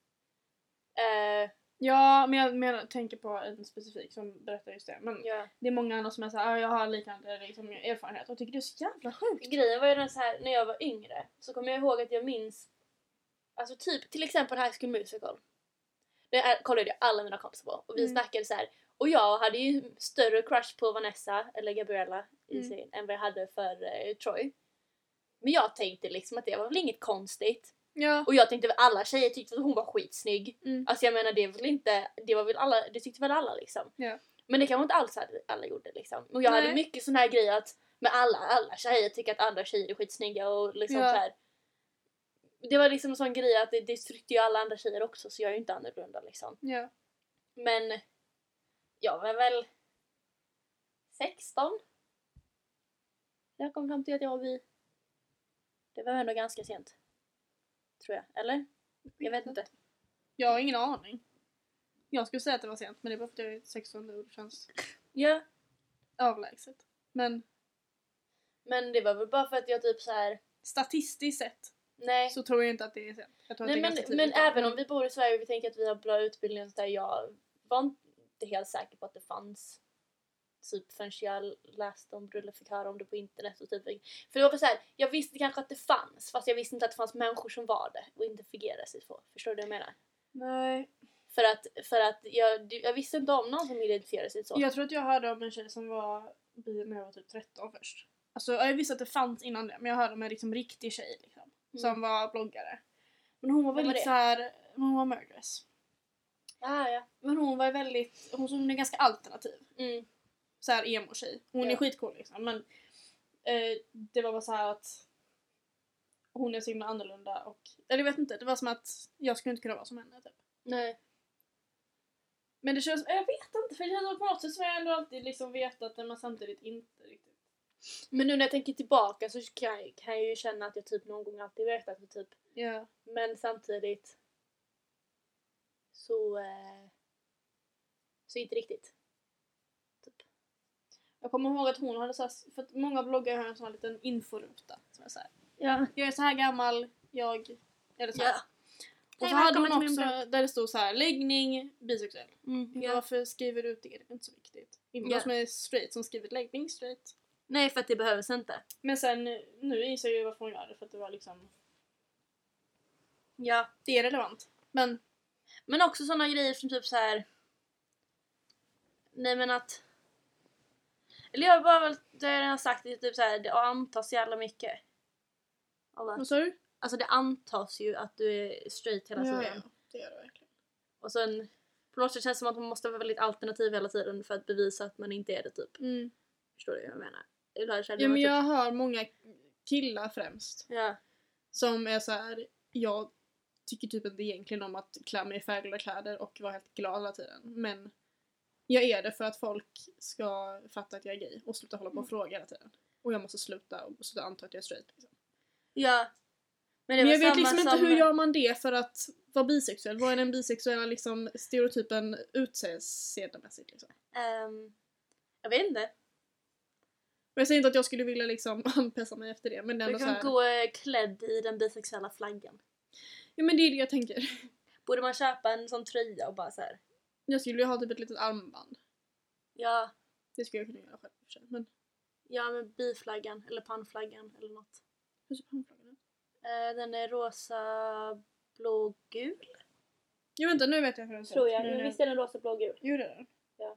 Speaker 1: Eh,
Speaker 2: Ja, men jag menar, tänker på en specifik som berättar just det. Men
Speaker 1: ja.
Speaker 2: det är många andra som är såhär, ah, jag har liknande liksom, erfarenhet och tycker det är så jävla sjukt.
Speaker 1: Grejen var ju den så här när jag var yngre så kommer jag ihåg att jag minns Alltså typ till exempel High School Musical. Det här kollade jag alla mina kompisar på och vi
Speaker 2: Mm.
Speaker 1: snackade så här. Och jag hade ju större crush på Vanessa eller Gabriella i
Speaker 2: Mm.
Speaker 1: serien än vad jag hade för eh, Troy. Men jag tänkte liksom att det var väl inget konstigt.
Speaker 2: Ja.
Speaker 1: Och jag tänkte väl alla tjejer tyckte att hon var skitsnygg.
Speaker 2: Mm.
Speaker 1: Alltså jag menar det är väl inte, det var väl alla, det tyckte väl alla liksom.
Speaker 2: Ja.
Speaker 1: Men det kanske inte alls hade, alla gjorde liksom. Och jag
Speaker 2: Nej.
Speaker 1: hade mycket sån här grej att med alla, alla tjejer tycker att andra tjejer är skitsnygga och liksom
Speaker 2: Ja.
Speaker 1: så här. Det var liksom en sån grej att det, det tryckte ju alla andra tjejer också så jag är ju inte annorlunda liksom.
Speaker 2: ja.
Speaker 1: Men jag var väl 16. när Jag kom fram till att jag var bi. Det var ändå ganska sent. Tror jag, eller? Jag vet inte.
Speaker 2: Jag har ingen aning. Jag skulle säga att det var sent men det är bara för att jag är 16 och det känns
Speaker 1: Ja,
Speaker 2: avlägset. Men
Speaker 1: men det var väl bara för att jag typ så här.
Speaker 2: statistiskt sett
Speaker 1: nej.
Speaker 2: så tror jag inte att det är sent. Jag tror
Speaker 1: nej
Speaker 2: att det är
Speaker 1: men,
Speaker 2: ganska tidigt.
Speaker 1: men även om vi bor i Sverige och vi tänker att vi har bra utbildning och sådär, jag var inte helt säker på att det fanns. Typ förrän jag läste om det eller fick höra om det på internet och typ. För det var väl såhär, jag visste kanske att det fanns fast jag visste inte att det fanns människor som var det och inte fungerade sig så. Förstår du vad jag menar?
Speaker 2: Nej.
Speaker 1: För att, för att jag, jag visste inte om någon som identifierade sig så.
Speaker 2: Jag tror att jag hörde om en tjej som var bi när jag var typ 13 först. Alltså jag visste att det fanns innan det men jag hörde om en liksom riktig tjej liksom, som var bloggare. Men hon var
Speaker 1: Vem var
Speaker 2: väldigt
Speaker 1: det?
Speaker 2: såhär, hon var murderess.
Speaker 1: Ah, ja.
Speaker 2: Men hon var väldigt, hon som är ganska alternativ.
Speaker 1: Mm.
Speaker 2: så här emo-tjej. Hon är
Speaker 1: Ja.
Speaker 2: skitcool liksom men eh, det var bara så här att hon är så himla annorlunda och, eller jag vet inte, det var som att jag skulle inte kunna vara som henne typ.
Speaker 1: Nej.
Speaker 2: Men det känns, jag vet inte för det känns på något sätt som jag ändå alltid liksom vetat men samtidigt inte riktigt.
Speaker 1: Men nu när jag tänker tillbaka så kan jag, kan jag ju känna att jag typ någon gång alltid vet att jag typ
Speaker 2: Ja.
Speaker 1: Men samtidigt så, eh, så inte riktigt.
Speaker 2: Jag kommer ihåg att hon hade så här, för att många bloggare har en sån här liten inforuta som är så här.
Speaker 1: Ja.
Speaker 2: jag är så här gammal, jag, eller så här.
Speaker 1: Ja.
Speaker 2: Och
Speaker 1: Hej,
Speaker 2: så hade hon
Speaker 1: välkommen till
Speaker 2: också
Speaker 1: min Mm.
Speaker 2: där det stod så här läggning, bisexuell.
Speaker 1: ja.
Speaker 2: Varför skriver du ut det? Det är inte så viktigt. Inte
Speaker 1: Ja.
Speaker 2: de som är straight som skrivit läggning straight.
Speaker 1: Nej för att det behövs inte.
Speaker 2: Men sen nu inser jag ju varför hon gör det för att det var liksom...
Speaker 1: Ja.
Speaker 2: Det är relevant. Men
Speaker 1: Men också sådana grejer som typ så här. Nej men att. Eller jag har bara väl, det har jag redan sagt, det är typ så här, det antas jävla mycket. Alla.
Speaker 2: vad sa du?
Speaker 1: Alltså det antas ju att du är straight hela tiden.
Speaker 2: Det gör det verkligen.
Speaker 1: Och sen på något sätt känns det som att man måste vara väldigt alternativ hela tiden för att bevisa att man inte är det typ.
Speaker 2: Mm.
Speaker 1: Förstår du vad jag menar? Eller känner
Speaker 2: Ja
Speaker 1: man
Speaker 2: men
Speaker 1: typ-
Speaker 2: jag hör många killar främst
Speaker 1: Ja.
Speaker 2: som är så här. jag tycker typ inte egentligen om att klä mig i färgglada kläder och vara helt glad hela tiden. Men jag är det för att folk ska fatta att jag är gay och sluta hålla på
Speaker 1: Mm.
Speaker 2: och fråga hela tiden. Och jag måste sluta och sluta anta att jag är straight. Liksom.
Speaker 1: Ja. Men, det
Speaker 2: Men
Speaker 1: var
Speaker 2: jag vet
Speaker 1: samma
Speaker 2: liksom inte
Speaker 1: som-
Speaker 2: hur gör man det för att vara bisexuell? Vad är den bisexuella liksom, stereotypen utseendemässigt? Liksom?
Speaker 1: Ehm, jag vet inte.
Speaker 2: Och jag säger inte att jag skulle vilja liksom, anpassa mig efter det men det är
Speaker 1: Du
Speaker 2: ändå så
Speaker 1: kan
Speaker 2: här,
Speaker 1: gå eh, klädd i den bisexuella flaggan.
Speaker 2: Ja men det är det jag tänker.
Speaker 1: Borde man köpa en sån tröja och bara så här.
Speaker 2: Jag skulle ju ha typ ett litet armband.
Speaker 1: Ja,
Speaker 2: Det skulle jag kunna göra själv i och för sig. Men
Speaker 1: ja men biflaggan eller pannflaggan eller något.
Speaker 2: hur ser pannflaggan ut?
Speaker 1: Eh, den är rosa, blå, gul.
Speaker 2: Jo vänta nu vet jag hur den ser
Speaker 1: Tror
Speaker 2: ut.
Speaker 1: jag.
Speaker 2: Nu
Speaker 1: Men
Speaker 2: är
Speaker 1: visst
Speaker 2: den-
Speaker 1: är den rosa, blå, gul?
Speaker 2: Jo det är den.
Speaker 1: Ja.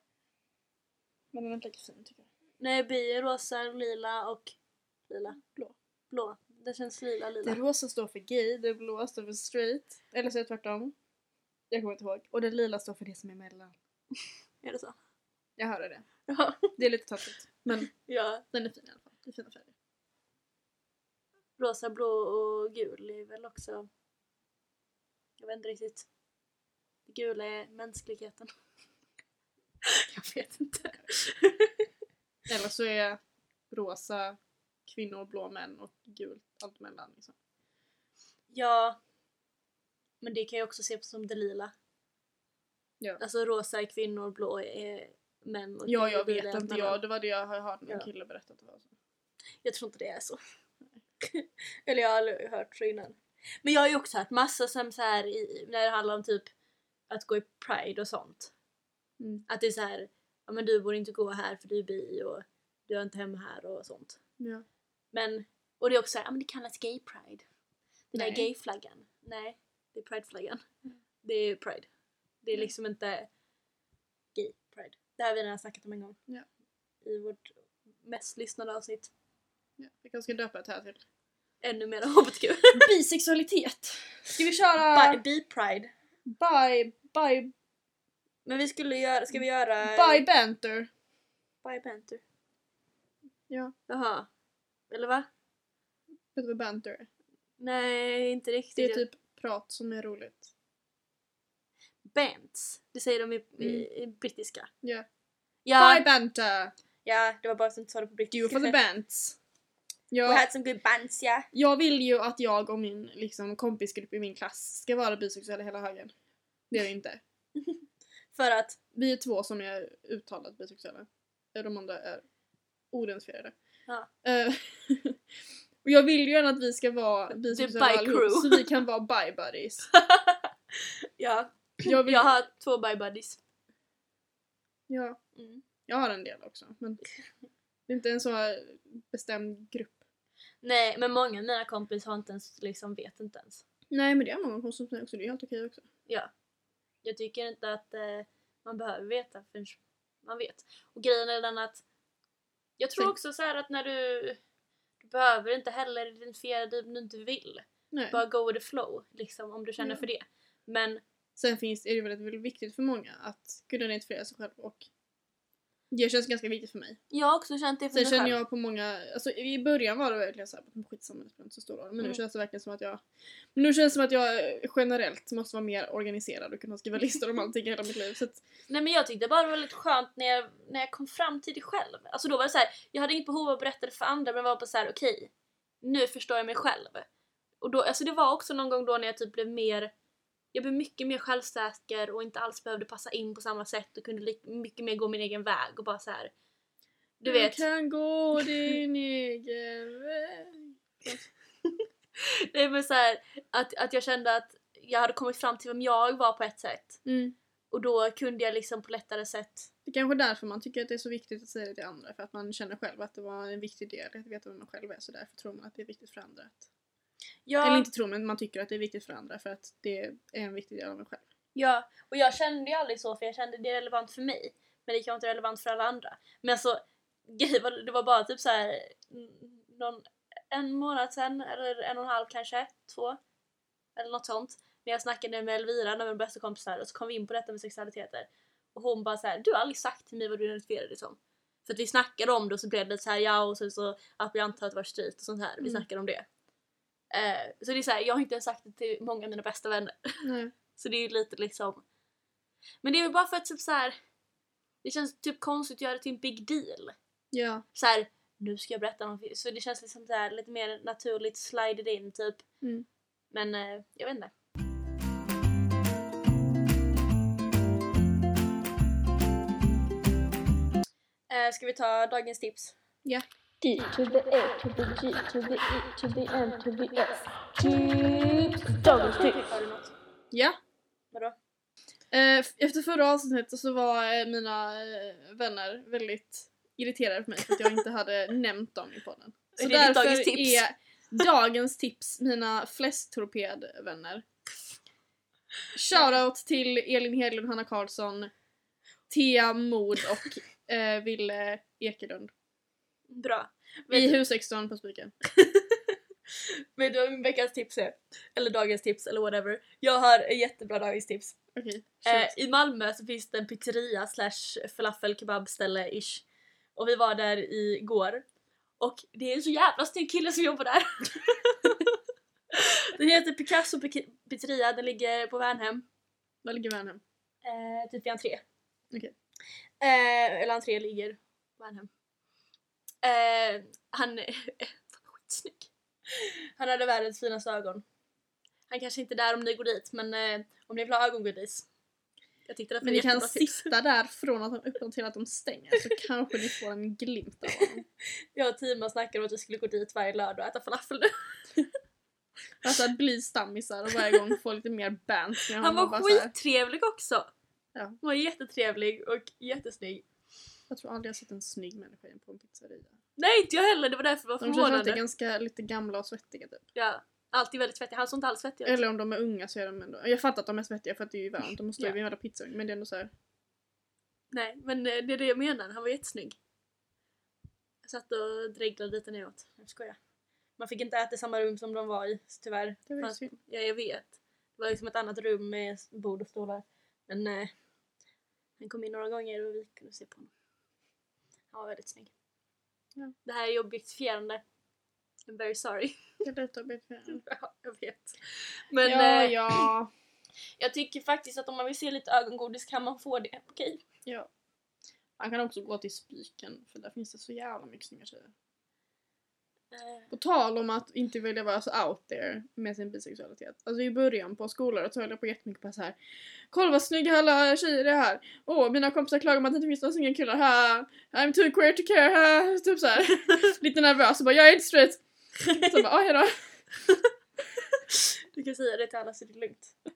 Speaker 2: Men den är inte lika fin tycker jag.
Speaker 1: Nej, bi är rosa, lila och lila.
Speaker 2: Mm, Blå.
Speaker 1: Blå. Det känns lila, lila.
Speaker 2: Det rosa står för gay, det blå står för straight. Eller så är det tvärtom. Jag kommer inte ihåg. Och det lila står för det som är mellan.
Speaker 1: Är det så?
Speaker 2: Jag hörde det.
Speaker 1: Ja.
Speaker 2: Det är lite taskigt. Men
Speaker 1: ja.
Speaker 2: den är fin i alla fall.
Speaker 1: rosa, blå och gul är väl också... Jag vet inte riktigt. Det gula är mänskligheten. jag vet inte.
Speaker 2: Eller så är rosa kvinnor, blå män och gult allt mellan. Liksom.
Speaker 1: Ja. Men det kan jag också se som det lila.
Speaker 2: Ja.
Speaker 1: Alltså rosa är kvinnor, blå är män och
Speaker 2: Ja,
Speaker 1: gul
Speaker 2: jag
Speaker 1: är
Speaker 2: vet
Speaker 1: allt
Speaker 2: inte.
Speaker 1: mellan.
Speaker 2: Jag, det var det jag hörde någon
Speaker 1: Ja.
Speaker 2: kille berätta. att det var så.
Speaker 1: Jag tror inte det är så. Eller jag har aldrig hört så innan. Men jag har ju också hört massa som så här i, när det handlar om typ att gå i pride och sånt.
Speaker 2: Mm.
Speaker 1: Att det är så här, ja men du borde inte gå här för du är bi och du är inte hemma här och sånt.
Speaker 2: Ja.
Speaker 1: Men, och det är också så här, ja men det kallas gay pride. Den där
Speaker 2: Nej.
Speaker 1: gay-flaggan. Nej, det är prideflaggan. Det är pride. Det är
Speaker 2: Mm.
Speaker 1: liksom inte gay pride. Det här har vi redan snackat om en gång.
Speaker 2: Ja.
Speaker 1: I vårt mest lyssnade avsnitt.
Speaker 2: Ja. Vi kanske ska döpa ett här till.
Speaker 1: Ännu mer hbtq.
Speaker 2: Bisexualitet! Ska vi köra...
Speaker 1: Bi- Bi-pride.
Speaker 2: Bye, bye,
Speaker 1: Men vi skulle göra, ska vi göra...
Speaker 2: bye banter.
Speaker 1: Bi banter.
Speaker 2: Ja.
Speaker 1: Jaha. Eller va?
Speaker 2: Vet du vad banter är?
Speaker 1: Nej, inte riktigt.
Speaker 2: Det är typ prat som är roligt.
Speaker 1: Bants. Det säger de i, i, i brittiska.
Speaker 2: Mm. Ja.
Speaker 1: Ja,
Speaker 2: Bye banter!
Speaker 1: ja, det var bara att du inte sa det på
Speaker 2: You
Speaker 1: brittiska.
Speaker 2: for the bants.
Speaker 1: We
Speaker 2: Jag,
Speaker 1: had some good bands, ja.
Speaker 2: jag vill ju att jag och min liksom, kompisgrupp i min klass ska vara bisexuella hela högen. Det är vi inte.
Speaker 1: För att...
Speaker 2: Vi är två som är uttalat bisexuella. De andra är oidentifierade.
Speaker 1: Ja.
Speaker 2: Eh, och jag vill ju gärna att vi ska vara bisexuella
Speaker 1: bi
Speaker 2: allihop
Speaker 1: crew.
Speaker 2: så vi kan vara bi-buddies.
Speaker 1: Ja,
Speaker 2: Jag, vill,
Speaker 1: jag har två bye buddies.
Speaker 2: ja,
Speaker 1: Mm.
Speaker 2: jag har en del också men det är inte en så här bestämd grupp.
Speaker 1: Nej, men många av mina kompisar har inte ens, liksom vet inte ens.
Speaker 2: Nej men det är många konsumenter också, det är helt okej också.
Speaker 1: Ja. Jag tycker inte att eh, man behöver veta förrän man vet. Och grejen är den att jag tror
Speaker 2: Sen-
Speaker 1: också så här att när du, du behöver inte heller identifiera dig om du inte vill.
Speaker 2: Nej.
Speaker 1: Bara go with the flow, liksom om du känner
Speaker 2: Ja.
Speaker 1: för det. Men
Speaker 2: Sen finns, är det väldigt, väldigt viktigt för många att kunna identifiera sig själv och det känns ganska viktigt för mig.
Speaker 1: jag har också känt det för
Speaker 2: Sen
Speaker 1: mig
Speaker 2: känner
Speaker 1: själv.
Speaker 2: jag på många, alltså i början var det verkligen såhär, skitsamma det spelar inte så stor roll. Men nu
Speaker 1: Mm.
Speaker 2: känns det verkligen som att jag, men nu känns det som att jag eh, generellt måste vara mer organiserad och kunna skriva listor om allting i hela mitt liv. Så att,
Speaker 1: Nej men jag tyckte bara det var lite skönt när jag, när jag kom fram till det själv. Alltså då var det så här, jag hade inget behov av att berätta det för andra men var på så här: okej, nu förstår jag mig själv. Och då, alltså det var också någon gång då när jag typ blev mer, jag blev mycket mer självsäker och inte alls behövde passa in på samma sätt och kunde li- mycket mer gå min egen väg och bara så här. Du
Speaker 2: Mm,
Speaker 1: vet,
Speaker 2: kan gå din egen väg.
Speaker 1: nej men så här, att, att jag kände att jag hade kommit fram till vem jag var på ett sätt
Speaker 2: Mm.
Speaker 1: och då kunde jag liksom på lättare sätt
Speaker 2: Det är kanske är därför man tycker att det är så viktigt att säga det till andra. För att man känner själv att det var en viktig del att veta vem man själv är. Så därför tror man att det är viktigt för andra. Att,
Speaker 1: Ja.
Speaker 2: Eller inte tror men man tycker att det är viktigt för andra för att det är en viktig del av en själv.
Speaker 1: Ja, och jag kände ju aldrig så för jag kände det är relevant för mig. Men det kan inte vara relevant för alla andra. Men alltså, grejen var- det var bara typ så här n- någon, en månad sen eller en och en halv kanske, två. Eller något sånt. När jag snackade med Elvira, en av mina bästa kompisar, och så kom vi in på detta med sexualiteter. Och hon bara så här, du har aldrig sagt till mig vad du identifierar dig som. För att vi snackade om det och så blev det lite så här ja och sen så att vi antar att det var straight och sånt här. Vi
Speaker 2: Mm.
Speaker 1: snackade om det. Eh, så det är så här, jag har inte ens sagt det till många av mina bästa vänner.
Speaker 2: Nej.
Speaker 1: Så det är ju lite liksom... Men det är väl bara för att typ så här. Det känns typ konstigt att göra det till en big deal.
Speaker 2: Ja.
Speaker 1: Så här, nu ska jag berätta om... Så det känns liksom så här, lite mer naturligt slided in typ.
Speaker 2: Mm.
Speaker 1: Men eh, jag vet inte. Eh, Ska vi ta dagens tips?
Speaker 3: D to the A to the G to the E to the M to the S. Tips! Dagens tips!
Speaker 1: Har du något?
Speaker 2: Ja.
Speaker 1: Vadå?
Speaker 2: Eh, f- Efter förra avsnittet så var eh, mina eh, vänner väldigt irriterade på mig för att jag inte hade nämnt dem i podden. Så
Speaker 1: Är det ditt
Speaker 2: därför
Speaker 1: dagens tips?
Speaker 2: är dagens tips mina fläsktorpedvänner. Shoutout till Elin Hedlund, Hanna Karlsson, Thea Mod och eh, Ville Ekelund.
Speaker 1: Bra.
Speaker 2: I
Speaker 1: Vet-
Speaker 2: Husexton på Spiken.
Speaker 1: Men du vad veckans tips är? Eller dagens tips eller whatever. Jag har ett jättebra dagens tips.
Speaker 2: Okej.
Speaker 1: Eh, I Malmö så finns det en pizzeria slash falafel kebab ställe ish. Och vi var där igår. Och det är en så jävla snygg kille som jobbar där. Picasso piki- pizzeria, den ligger på Värnhem.
Speaker 2: Var ligger Värnhem?
Speaker 1: Eh, typ vid entré.
Speaker 2: Okej.
Speaker 1: Eh, eller entré ligger Värnhem. Eh, han är skitsnygg. Han hade världens finaste ögon. Han kanske inte är där om ni går dit men eh, om ni vill ha ögongodis. Jag tyckte det var
Speaker 2: Men ni
Speaker 1: ett
Speaker 2: kan
Speaker 1: jättebra tips.
Speaker 2: sitta där från att de öppnar till att de stänger så kanske ni får en glimt av honom.
Speaker 1: Jag och Tima snackade om att vi skulle gå dit varje lördag och äta falafel nu.
Speaker 2: Alltså att bli stammisar och varje gång få lite mer bant med
Speaker 1: Han
Speaker 2: honom. och
Speaker 1: var
Speaker 2: bara så här,
Speaker 1: skittrevlig också.
Speaker 2: Ja.
Speaker 1: Han var jättetrevlig och jättesnygg.
Speaker 2: Jag tror aldrig jag sett en snygg människa på en pizzeria.
Speaker 1: Nej inte jag heller, det var därför jag var
Speaker 2: De känns alltid
Speaker 1: förvånad.
Speaker 2: ganska lite gamla och svettiga typ.
Speaker 1: Ja, alltid väldigt svettig. Han såg inte alls svettig ut.
Speaker 2: Eller om de är unga så är de ändå... Jag fattar att de är svettiga för att det är ju varmt, de måste ju
Speaker 1: Ja.
Speaker 2: vid en jävla pizzaugn men det är ändå såhär...
Speaker 1: Nej, men eh, det är det jag menar. Han var jättesnygg. Jag satt och dreglade lite neråt. Jag skojar. Man fick inte äta i samma rum som de var i, så tyvärr.
Speaker 2: Det var ju
Speaker 1: Fast-
Speaker 2: synd.
Speaker 1: Ja, jag vet. Det var liksom ett annat rum med bord och stolar. Men eh, han kom in några gånger och vi kunde se på honom. Han var väldigt snygg.
Speaker 2: Ja.
Speaker 1: Det här är ju objektifierande. I'm very sorry.
Speaker 2: Det är lite arbetsamt.
Speaker 1: Ja, jag vet. Men
Speaker 2: ja,
Speaker 1: eh,
Speaker 2: ja.
Speaker 1: jag tycker faktiskt att om man vill se lite ögongodis kan man få det. Okej.
Speaker 2: ja. Man kan också gå till Spiken för där finns det så jävla mycket snygga tjejer.
Speaker 1: Eh,
Speaker 2: På tal om att inte vilja vara så out there med sin bisexualitet. Alltså i början på skolåret så höll jag på jättemycket på så här. Kolla vad snygga alla tjejer är här. Åh, mina kompisar klagar om att det inte finns några snygga killar här. I'm too queer to care här. Typ så här. Lite nervös och bara jag är inte straight. Så bara, ah, hejdå.
Speaker 1: du kan säga det till alla så det är lugnt.
Speaker 2: Nej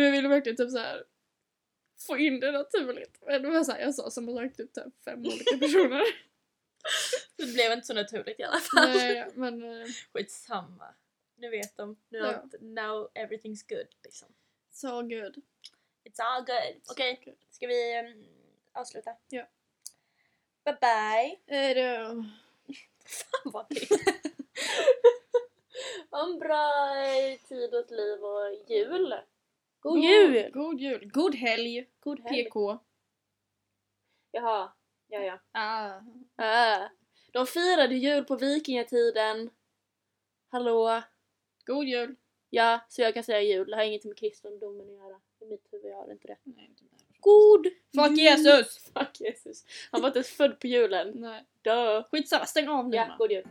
Speaker 2: men jag ville verkligen typ så här få in det naturligt. Men det var så här, jag sa som sagt typ så här fem olika personer.
Speaker 1: Det blev inte så naturligt i alla fall.
Speaker 2: Nej, men eh,
Speaker 1: Skitsamma. Nu vet de. Nu
Speaker 2: Ja.
Speaker 1: allt, now everything's good liksom.
Speaker 2: so good.
Speaker 1: It's all good. Okej,
Speaker 2: good.
Speaker 1: ska vi ehm, avsluta?
Speaker 2: Ja.
Speaker 1: Bye bye.
Speaker 2: Eh, Hejdå.
Speaker 1: Fan vad trist. Ha en bra eh, tid åt liv och jul. God jul!
Speaker 2: God jul! God helg!
Speaker 1: God helg.
Speaker 2: PK.
Speaker 1: Jaha, ja ja.
Speaker 2: Ah.
Speaker 1: Äh. De firade jul på vikingatiden. Hallå?
Speaker 2: God jul!
Speaker 1: Ja, så jag kan säga jul. Det har ingenting med kristendomen att göra. I mitt huvud har det inte det.
Speaker 2: Nej, inte mer.
Speaker 1: God
Speaker 2: Fuck
Speaker 1: jul.
Speaker 2: Jesus!
Speaker 1: Fuck Jesus. Han var inte ens född på julen.
Speaker 2: Nej.
Speaker 1: Dö.
Speaker 2: Skitsamma, stäng av nu.
Speaker 1: Ja,
Speaker 2: man.
Speaker 1: god jul.